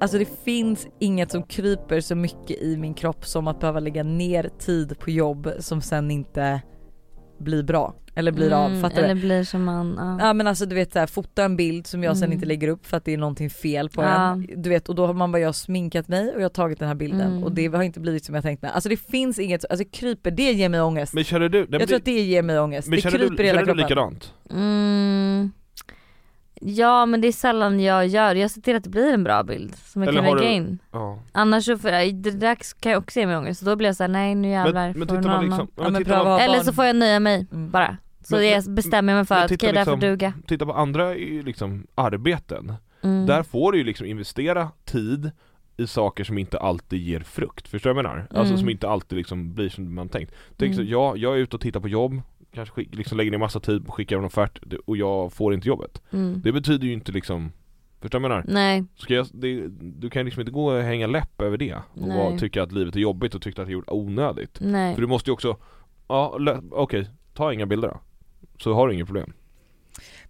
Alltså det finns inget som kryper så mycket i min kropp som att behöva lägga ner tid på jobb som sen inte blir bra eller blir av.
Mm,
Fattar
Eller
du?
blir som man, ja.
Ja men alltså du vet såhär fota en bild som jag sen
Mm.
inte lägger upp för att det är någonting fel på
Ja.
den. Du vet och då har man bara jag har sminkat mig och jag har tagit den här bilden
Mm.
och det har inte blivit som jag tänkt mig. Alltså det finns inget, alltså kryper det ger mig ångest.
Men känner du, nej, men
jag tror
det-
att det ger mig ångest.
men
Det
känner
kryper
du,
i hela
känner du
kroppen.
likadant?
Mm. Ja men det är sällan jag gör, jag ser till att det blir en bra bild som jag
Eller
kan
har
lägga
du-
in.
Ja.
Annars så, för, det där kan jag också ge mig ångest så då blir jag såhär nej nu
Men,
jävlar
men
får
tittar
någon
man
annan.
liksom,
Ja,
ja, men
men
tittar
pröva
man,
av
Eller
barn.
så får jag nöja mig
Mm.
bara. Så
Men-
jag bestämmer mig för
men
att
titta
okej det här får
liksom-
duga.
titta på andra i liksom arbeten,
Mm.
där får du ju liksom investera tid i saker som inte alltid ger frukt, förstår du vad jag menar? Alltså
Mm.
som inte alltid liksom blir som man tänkt. Tänk
Mm.
så, ja, jag är ute och tittar på jobb, kanske skick, liksom lägger ner massa tid på att skicka en offert det- och jag får inte jobbet.
Mm.
Det betyder ju inte liksom Förstår du vad jag menar?
Nej.
Ska jag, det, du kan ju liksom inte gå och hänga läpp över det och
Nej.
vara, tycka att livet är jobbigt och tycka att det är gjort onödigt.
Nej.
För du måste ju också, ja lö- okej, ta inga bilder då. Så har du inget problem.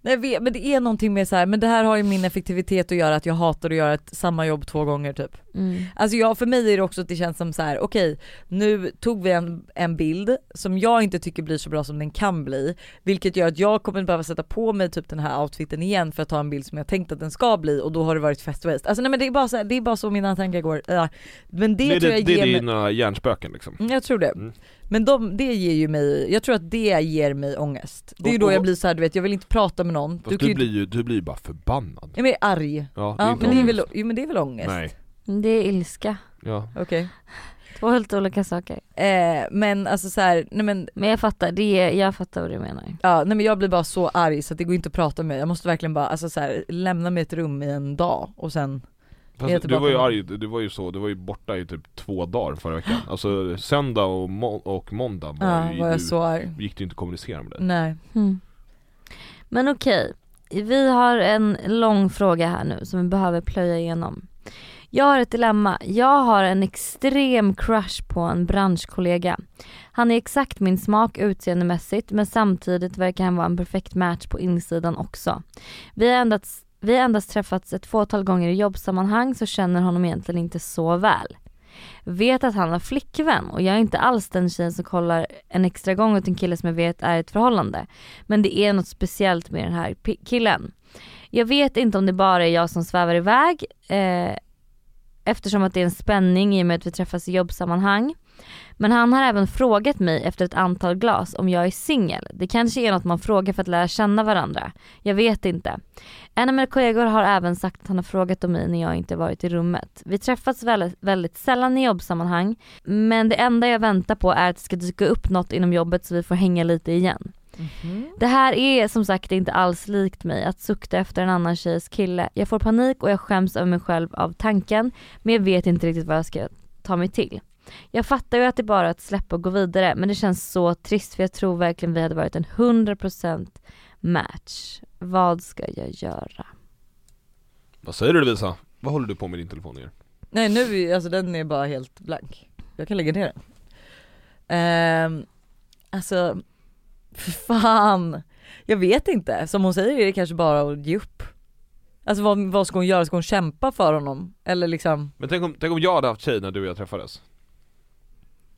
Nej, jag vet, men det är någonting med så här, men det här har ju min effektivitet att göra att jag hatar att göra ett, samma jobb två gånger typ.
Mm.
Alltså jag, för mig är det också att det känns som så här: okej nu tog vi en, en bild som jag inte tycker blir så bra som den kan bli, vilket gör att jag kommer behöva sätta på mig typ den här outfiten igen för att ta en bild som jag tänkt att den ska bli och då har det varit fest waste. Alltså nej men det är bara så, här, det är bara så mina tankar går. Ja. Men det,
det,
tror jag
det, det
ger
är
mig,
dina hjärnspöken liksom.
Mm, jag tror det.
Mm.
Men de, det ger ju mig, jag tror att det ger mig ångest. Det är ju
Och-
då jag
och-
blir så här, du vet jag vill inte prata med någon. kan
Fast du,
ju-
blir ju, du blir ju bara förbannad.
Jag är arg.
Ja,
Ja men det, är
ångest.
väl, jo, men det är väl ångest?
Nej.
Det är ilska.
Ja.
Okej.
Två helt olika saker.
Eh, men alltså så här, nej men
Men jag fattar, det är, jag fattar vad du menar.
Ja, nej men jag blir bara så arg så att det går inte att prata med. Jag måste verkligen bara alltså, så här, lämna mig ett rum i en dag och sen Jag är
Fast du
tillbaka
var ju
med-
arg, du var ju så, du var ju borta i typ två dagar förra veckan. Alltså söndag och, må- och måndag var,
ja,
ju,
var
du,
jag så arg.
gick det ju inte att kommunicera med dig.
Nej.
Mm. Men okej, vi har en lång fråga här nu som vi behöver plöja igenom. Jag har ett dilemma. Jag har en extrem crush på en branschkollega. Han är exakt min smak utseendemässigt men samtidigt verkar han vara en perfekt match på insidan också. Vi har ändrat Vi har endast träffats ett fåtal gånger i jobbsammanhang så känner honom egentligen inte så väl. Vet att han har flickvän och jag är inte alls den tjejen som kollar en extra gång åt en kille som jag vet är i ett förhållande. Men det är något speciellt med den här pi- killen. Jag vet inte om det bara är jag som svävar iväg eh, eftersom att det är en spänning i och med att vi träffas i jobbsammanhang. Men han har även frågat mig efter ett antal glas om jag är singel. Det kanske är något man frågar för att lära känna varandra. Jag vet inte. En av mina kollegor har även sagt att han har frågat om mig när jag inte varit i rummet. Vi träffas väl- väldigt sällan i jobbsammanhang men det enda jag väntar på är att det ska dyka upp något inom jobbet så vi får hänga lite igen. Det här är som sagt inte alls likt mig att sukta efter en annan tjejs kille. Jag får panik och jag skäms över mig själv av tanken men jag vet inte riktigt vad jag ska ta mig till. Jag fattar ju att det är bara att släppa och gå vidare men det känns så trist för jag tror verkligen vi hade varit en 100% match. Vad ska jag göra?
Vad säger du Lovisa? Vad håller du på med din telefon och gör?
Nej nu, är- alltså den är bara helt blank. Jag kan lägga ner den. Ehm, alltså, för fan. Jag vet inte. Som hon säger är det kanske bara att ge upp. Alltså vad, vad ska hon göra? Ska hon kämpa för honom? Eller liksom,
Men tänk om, tänk om jag hade haft tjej när du och jag träffades?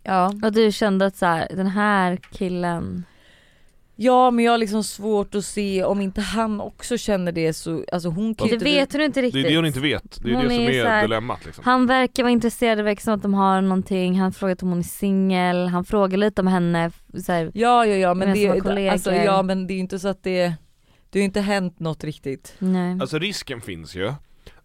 ja.
Och du kände att så här, den här killen,
Ja men jag har liksom svårt att se om inte han också känner det så, alltså hon kan ju
det
inte
vet hon inte
Det
riktigt.
är det hon inte vet, det är
Hon
det som
är
är
så här-
dilemmat liksom
Han verkar vara intresserad, det verkar som att de har någonting, han frågat om hon är singel, han frågar lite om henne, så här,
Ja ja ja men det,
Gemensamma
är- alltså,
kollegor.
ja, men det är ju inte så att det, det har ju inte hänt något riktigt.
nej.
Alltså risken finns ju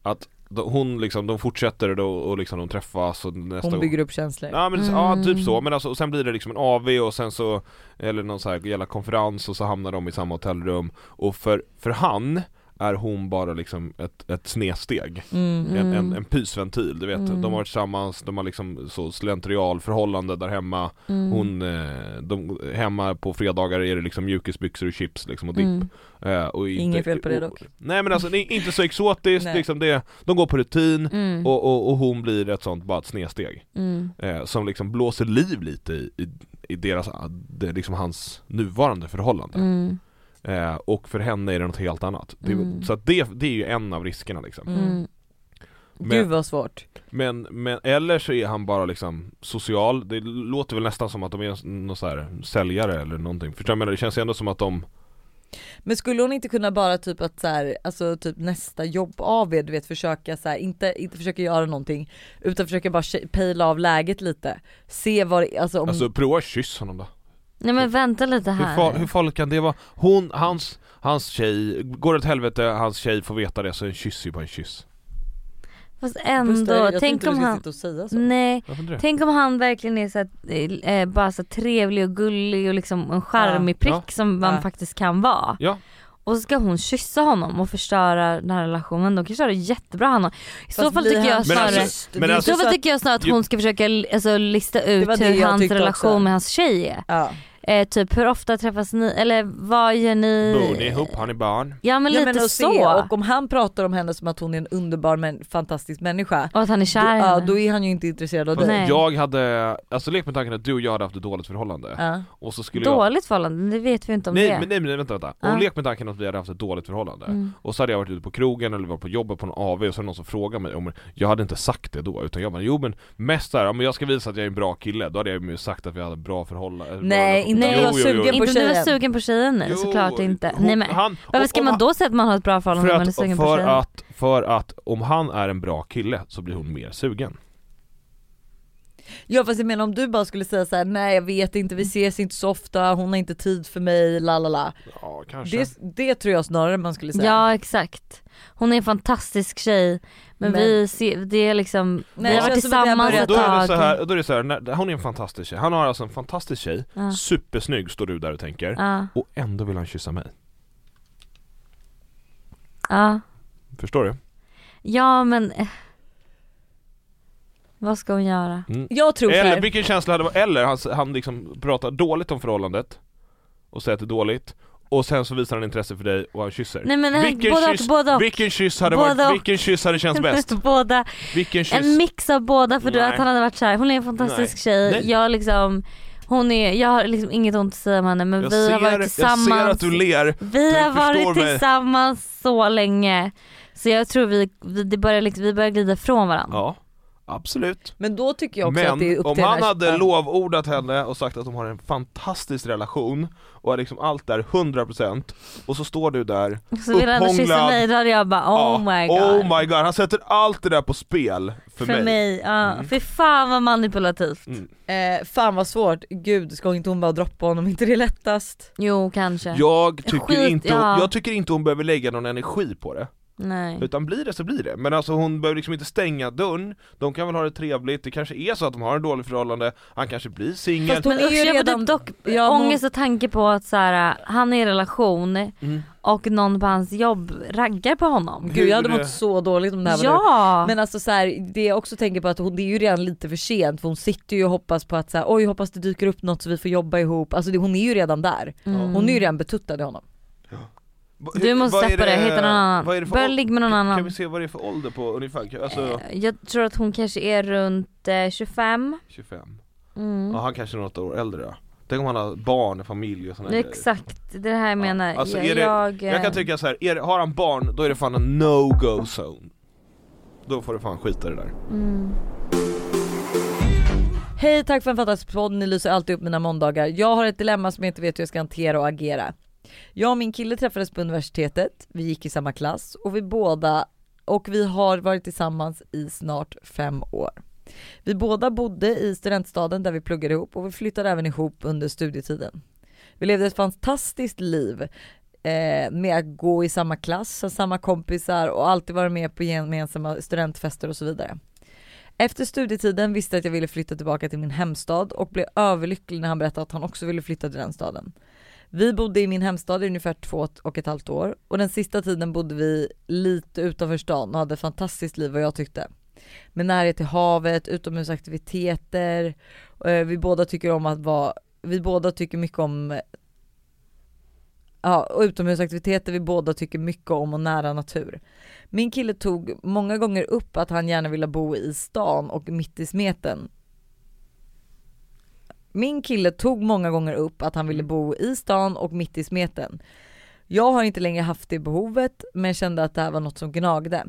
att då- hon liksom, de fortsätter då, och liksom de träffas och nästa
Hon
gång
bygger upp känslor.
Ja men ja,
Mm.
typ så, men alltså, och sen blir det liksom en AV och sen så Eller någon så här jävla konferens och så hamnar de i samma hotellrum Och för, för han är hon bara liksom ett, ett snedsteg
Mm.
en, en,
Mm.
en pysventil, du vet
Mm.
De har varit tillsammans, de har liksom så slentrialförhållande där hemma
Mm.
Hon, eh, de, hemma på fredagar är det liksom mjukisbyxor och chips liksom och dipp
Mm.
eh, och inte,
Inget fel på det
och-
dock.
Nej men alltså det är inte så exotiskt
Nej.
liksom det, de går på rutin
Mm.
och, och, och hon blir ett sånt bara ett snedsteg
Mm.
eh, som liksom blåser liv lite i, i, i deras, det, är liksom hans nuvarande förhållande.
Mm.
Eh, och för henne är det något helt annat. Det,
Mm.
Så att det, det är ju en av riskerna liksom.
Mm.
Gud
Men,
vad svårt.
men, men eller så är han bara liksom social, det låter väl nästan som att de är någon så här säljare eller någonting. Förstår du vad jag menar? Det känns ju ändå som att de,
Men skulle hon inte kunna bara typ att så här, alltså typ nästa jobb av er, du vet försöka så här, inte, inte försöka göra någonting utan försöka bara tje- pejla av läget lite. Se vad det, alltså om,
alltså prova att kyssa honom då.
Nej men vänta lite
Hur,
här.
far, hur farligt kan det vara? Hon, hans, hans tjej, går det åt helvete, hans tjej får veta det så en kyss är bara en kyss.
Fast
Buster,
ändå,
jag tror
tänk
inte
om
du ska
han,
sitta och säga så.
nej,
Varför inte det?
tänk om han verkligen är så att, eh, bara så trevlig och gullig och liksom en charmig prick
Ja.
som man
Ja.
faktiskt kan vara.
Ja.
Och så ska hon kyssa honom och förstöra den här relationen, de kanske har det jättebra han har. I så
Fast
fall
blir
tycker
han
jag
Men
snarare
alltså-
tyst?
men
Det är ju
I
alltså-
så
så
fall
att-
tycker jag snarare att
ju-
hon ska försöka alltså, lista ut
var det
hur
jag
hans
tyckte
relation
också.
med hans tjej är.
ja.
Eh, typ hur ofta träffas ni, eller vad gör ni?
Bor ni ihop? Har ni barn?
Ja men
Ja,
lite
men att
så.
se, och om han pratar om henne som att hon är en underbar men fantastisk människa,
Och att han är
då,
kär i
ja,
henne.
då är han ju inte intresserad av
Fast
dig.
Nej.
Alltså, jag hade, alltså lek med tanken att du och jag hade haft ett dåligt förhållande
Ja.
och så skulle jag
Dåligt förhållande, det vet vi inte om
Nej
det
men nej, men vänta vänta,
Ja.
och lek med tanken att vi hade haft ett dåligt förhållande
Mm.
och så hade jag varit ute på krogen eller var på jobbet på en AV och så är det någon som frågar mig om Jag hade inte sagt det då utan jag bara jo men mest såhär, om jag ska visa att jag är en bra kille då hade jag ju sagt att vi hade ett bra förhållande
Nej, inte
om du var
sugen på
Inte om du var
tjejen.
sugen på tjejen nu, såklart inte. Nej men
han,
varför ska
om-
man
om
då säga att man har ett bra
han-
förhållande
för
om man är
att,
sugen på
för,
tjejen?
att, för att om han är en bra kille så blir hon mer sugen
Ja fast jag menar om du bara skulle säga så här: nej jag vet inte, vi ses inte så ofta, hon har inte tid för mig, la la la.
Ja kanske
Det, det tror jag snarare man skulle säga.
liksom.
Ja exakt. Hon är en fantastisk tjej men,
Men-
vi ser, det är liksom,
Nej,
vi har
det
varit
känns som att vi har
tillsammans
börjat-
ett
Alltså, då är
tag.
det så här, då är det så här när, hon är en fantastisk tjej, han har alltså en fantastisk tjej,
Ja.
supersnygg står du där och tänker,
Ja,
och ändå vill han kyssa mig.
ja.
Förstår du?
ja men eh. vad ska hon göra?
Jag tror
Mm. Eller
såhär,
vilken känsla hade varit, eller han, han liksom pratar dåligt om förhållandet och säger att det är dåligt och sen så visar han intresse för dig och han kysser.
Nej men eh,
vilken,
både
kyss,
och, både och.
vilken kyss hade
Både
varit,
och.
vilken kyss hade känts bäst?
båda,
Vilken kyss?
en mix av båda för du,
Nej.
att han hade varit såhär, hon är en fantastisk
Nej.
tjej,
Nej.
jag liksom Hon är, jag har liksom inget ont att säga om henne men
Jag,
vi har
ser,
varit
jag ser
tillsammans
att du ler.
Vi
Du
har varit
förstår mig.
tillsammans så länge så jag tror vi, vi, det börjar, liksom, vi börjar glida från varandra.
Ja, absolut.
Men då tycker jag också att det är
Men
upp
om
till den
han
här-
hade
Ja.
lovordat henne och sagt att de har en fantastisk relation och är liksom allt där 100% och så står du där
Så vill han kyssa
Upphånglad.
mig då hade jag bara
ja,
oh my god.
oh my god, han sätter allt det där på spel för,
för
mig.
mig, ja.
Mm.
Fy fan vad manipulativt.
Mm.
Eh, fan vad svårt, gud ska inte hon bara droppa honom, inte det är lättast?
Jo kanske.
Jag tycker,
Skit,
inte,
ja. Mm.
jag tycker inte hon behöver lägga någon energi på det,
Nej.
utan blir det så blir det. Men alltså hon behöver liksom inte stänga dörren, de kan väl ha det trevligt, det kanske är så att de har en dålig förhållande, han kanske blir singel.
Fast hon
Men
är
usch,
ju
jag får
redan...
typ dock
Ja, men hon-
ångest och tanke på att så här, han är i relation
Mm.
och någon på hans jobb raggar på honom.
Gud jag hade
Hur-
mått så dåligt om det här var du.
Ja!
Men alltså så här, det jag också tänker på att hon, det är ju redan lite för sent för hon sitter ju och hoppas på att så här, oj hoppas det dyker upp något så vi får jobba ihop. Alltså det, hon är ju redan där.
Mm.
Hon är ju redan betuttad i honom.
Va- hur-
Du måste
vad är
släppa det, hitta någon annan.
vad är det för
Börja
ål-
ligga med någon
Kan vi
annan.
se vad det är för ålder på ungefär? Alltså
Eh, Jag tror att hon kanske är runt eh, 25.
25?
Mm.
Ja han kanske är något år äldre då. Tänk om han har barn, familj och sådana
Det är
grejer.
Exakt, det är det här jag
Ja,
menar.
alltså, är
jag,
det-
jag, eh,
Jag kan tycka så här, är, det- har han barn då är det fan en no-go zone. Då får du fan skita i det där.
mm.
Hej tack för en fantastisk podd, ni lyser alltid upp mina måndagar. Jag har ett dilemma som jag inte vet hur jag ska hantera och agera. Jag och min kille träffades på universitetet, vi gick i samma klass och vi båda och vi har varit tillsammans i snart fem år. Vi båda bodde i studentstaden där vi pluggade ihop och vi flyttade även ihop under studietiden. Vi levde ett fantastiskt liv eh, med att gå i samma klass, ha samma kompisar och alltid vara med på gemensamma studentfester och så vidare. Efter studietiden visste jag att jag ville flytta tillbaka till min hemstad och blev överlycklig när han berättade att han också ville flytta till den staden. Vi bodde i min hemstad i ungefär två och ett halvt år och den sista tiden bodde vi lite utanför stan och hade ett fantastiskt liv vad jag tyckte. Med närhet till havet, utomhusaktiviteter, eh, vi båda tycker om att vara, vi båda tycker mycket om eh, Ja, och utomhusaktiviteter, vi båda tycker mycket om och nära natur. Min kille tog många gånger upp att han gärna ville bo i stan och mitt i smeten. Min kille tog många gånger upp att han ville bo i stan och mitt i smeten. Jag har inte längre haft det behovet men kände att det här var något som gnagde.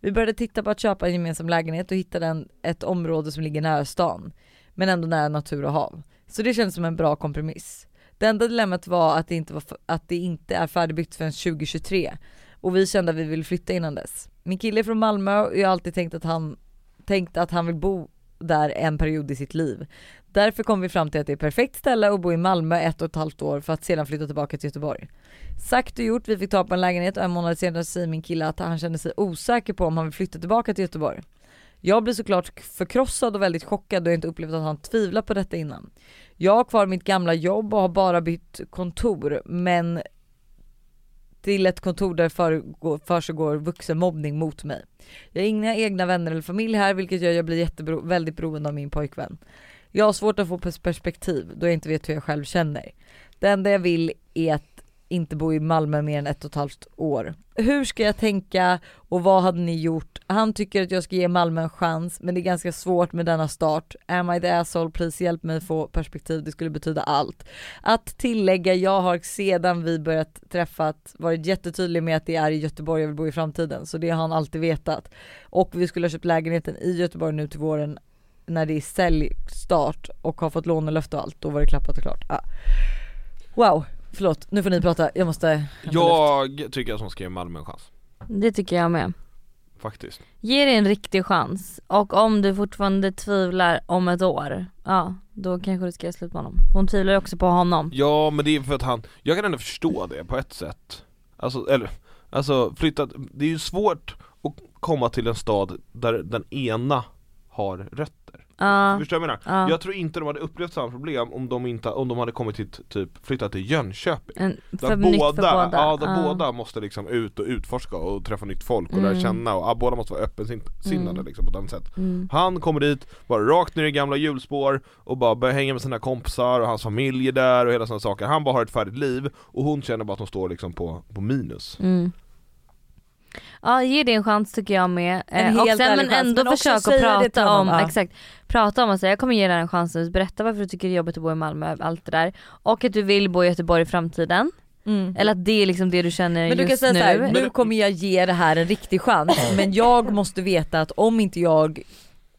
Vi började titta på att köpa en gemensam lägenhet och hittade en, ett område som ligger nära stan men ändå nära natur och hav. Så det kändes som en bra kompromiss. Det enda dilemmat var att det inte, var, f- att det inte är färdigbyggt förrän 2023 och vi kände att vi ville flytta innan dess. Min kille är från Malmö och jag har alltid tänkt att han, tänkt att han vill bo där en period i sitt liv. Därför kom vi fram till att det är ett perfekt ställe att bo i Malmö ett och ett halvt år för att sedan flytta tillbaka till Göteborg. Sagt och gjort, vi fick ta på en lägenhet och en månad senare säger min kille att han känner sig osäker på om han vill flytta tillbaka till Göteborg. Jag blir såklart förkrossad och väldigt chockad då jag inte upplevt att han tvivlar på detta innan. Jag har kvar mitt gamla jobb och har bara bytt kontor men till ett kontor där förgår- försiggår vuxenmobbning mot mig. Jag har inga egna vänner eller familj här vilket gör att jag blir jättebero- väldigt beroende av min pojkvän. Jag har svårt att få pers- perspektiv då jag inte vet hur jag själv känner. Det enda jag vill är att inte bo i Malmö mer än ett och ett halvt år. Hur ska jag tänka och vad hade ni gjort? Han tycker att jag ska ge Malmö en chans men det är ganska svårt med denna start. Am I the asshole? Please hjälp mig få perspektiv, det skulle betyda allt. Att tillägga, jag har sedan vi börjat träffat varit jättetydlig med att det är i Göteborg jag vill bo i framtiden, så det har han alltid vetat. Och vi skulle ha köpt lägenheten i Göteborg nu till våren när det är säljstart och har fått lånelöfte och allt, då var det klappat och klart. Ah. Wow, förlåt, nu får ni prata, jag måste hämta luft.
Jag tycker att hon ska ge Malmö en chans,
Det tycker jag med.
faktiskt.
Ge det en riktig chans och om du fortfarande tvivlar om ett år, ja då kanske du ska göra slut med honom. Hon tvivlar ju också på honom.
Ja men det är för att han, jag kan ändå förstå det på ett sätt Alltså, eller, alltså flytta, det är ju svårt att komma till en stad där den ena har rötter
Ja,
Förstår du vad jag menar?
ja.
Jag tror inte de hade upplevt samma problem om de, inte, om de hade kommit till typ, flyttat till Jönköping
En, för
där
nytt
båda,
för båda.
Ja, där båda måste liksom ut och utforska och träffa nytt folk och lära
Mm.
känna och ja, båda måste vara öppensinnade
Mm.
liksom på ett annat sätt
Mm.
han kommer dit, bara rakt ner i gamla hjulspår och bara börjar hänga med sina kompisar och hans familj är där och hela sådana saker Han bara har ett färdigt liv och hon känner bara att hon står liksom på, på minus
Mm. Ja ge det en chans tycker jag med.
En
Eh, och
helt
sen
ärlig
men
chans,
ändå
men också
försök att
säga det till
prata om,
honom, ja.
exakt, prata om och säga jag kommer ge dig en chans nu, berätta varför du tycker det är jobbigt att bo i Malmö, allt det där. Och att du vill bo i Göteborg i framtiden.
Mm.
Eller att det är liksom det du känner
Men du kan
just
säga
nu.
så här, nu kommer jag ge det här en riktig chans men jag måste veta att om inte jag,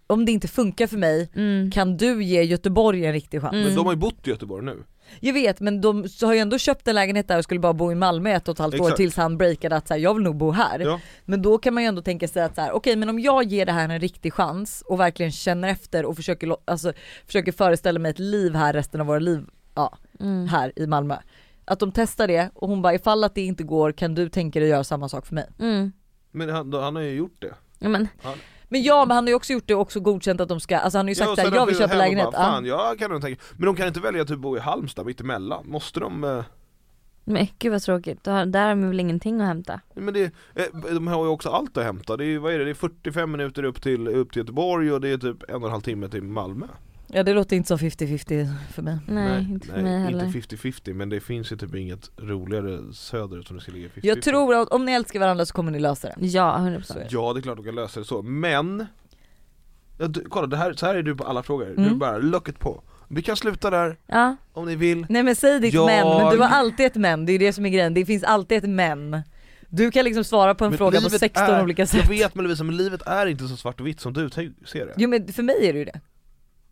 om det inte funkar för mig
mm.
kan du ge Göteborg en riktig chans.
Men de har ju bott i Göteborg nu.
Jag vet men de har ju ändå köpt en lägenhet där och skulle bara bo i Malmö ett och ett halvt år
Exakt.
tills han breakade att så här, jag vill nog bo här.
Ja.
Men då kan man ju ändå tänka sig att så här, okej men om jag ger det här en riktig chans och verkligen känner efter och försöker, lo- alltså, försöker föreställa mig ett liv här resten av våra liv
Mm.
här i Malmö. Att de testar det och hon bara ifall att det inte går kan du tänka dig göra samma sak för mig?
Mm.
Men han, han har ju gjort det.
Ja, men,
Men ja men han har ju också gjort det och också godkänt att de ska, alltså han har ju sagt
och
ja,
sen
såhär, jag
har
vill
vi
köpa
hem och
lägenhet.
Bara,
Ja.
fan, jag kan nog tänka. Men de kan inte välja att typ bo i Halmstad mitt emellan. Måste de? Eh,
men gud vad tråkigt, Då har- där har man väl ingenting att hämta.
men det, eh, de har ju också allt att hämta. Det är, ju- vad är det? det är 45 minuter upp till, upp till Göteborg och det är typ en och en halv timme till Malmö.
ja det låter inte som 50-50 för mig.
Nej, inte för mig
nej,
heller.
Inte 50-50 men det finns ju typ inget roligare söderut som det ska ligga 50-50.
Jag tror att om ni älskar varandra så kommer ni lösa det.
Ja, 100%.
Så är det.
Ja det är klart de kan lösa det så, men ja, du, Kolla det här, så här är du på alla frågor, du
Mm.
bara locket på Vi kan sluta där
Ja,
om ni vill
Nej men säg ditt
Jag-
men, men du har alltid ett men, det är ju det som är grejen, det finns alltid ett men. Du kan liksom svara på en
Men
fråga på
livet
16
är,
olika sätt.
Jag vet men Lovisa, men livet är inte så svart och vitt som du tänk- ser det ja,
Jo men för mig är det ju det.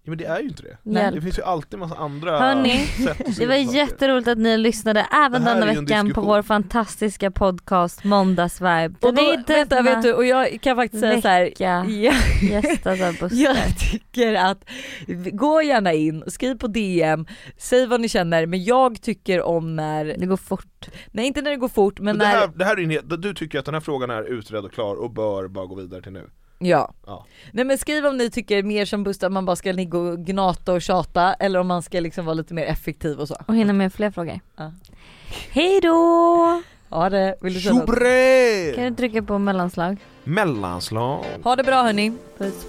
Men det är ju inte det
hjälp.
Det finns ju alltid massa andra
Hörni,
sätt att se
Det var
på saker.
jätteroligt att ni lyssnade även
Det här
denna
är ju en
veckan på
diskussion.
vår fantastiska podcast Måndagsvibe.
Och då, vänta
denna
vet du, och jag kan faktiskt säga såhär,
vecka
ja,
gästas av
jag
Buster.
tycker att, gå gärna in, skriv på DM, säg vad ni känner, men jag tycker om när,
Det går fort.
nej inte när det går fort men,
Men det
när,
här, det här är ju en hel- Du tycker att den här frågan är utredd och klar och bör bara gå vidare till nu
ja.
Ja.
Nej men skriv om ni tycker mer som Buster, att man bara ska ligga och gnata och tjata eller om man ska liksom vara lite mer effektiv och så.
Och hinna med fler frågor.
Ja.
Hej då!
Ja det, vill du säga något?
Kan
Tjobre!
du trycka på mellanslag?
Mellanslag
Ha det bra hörni.
Puss.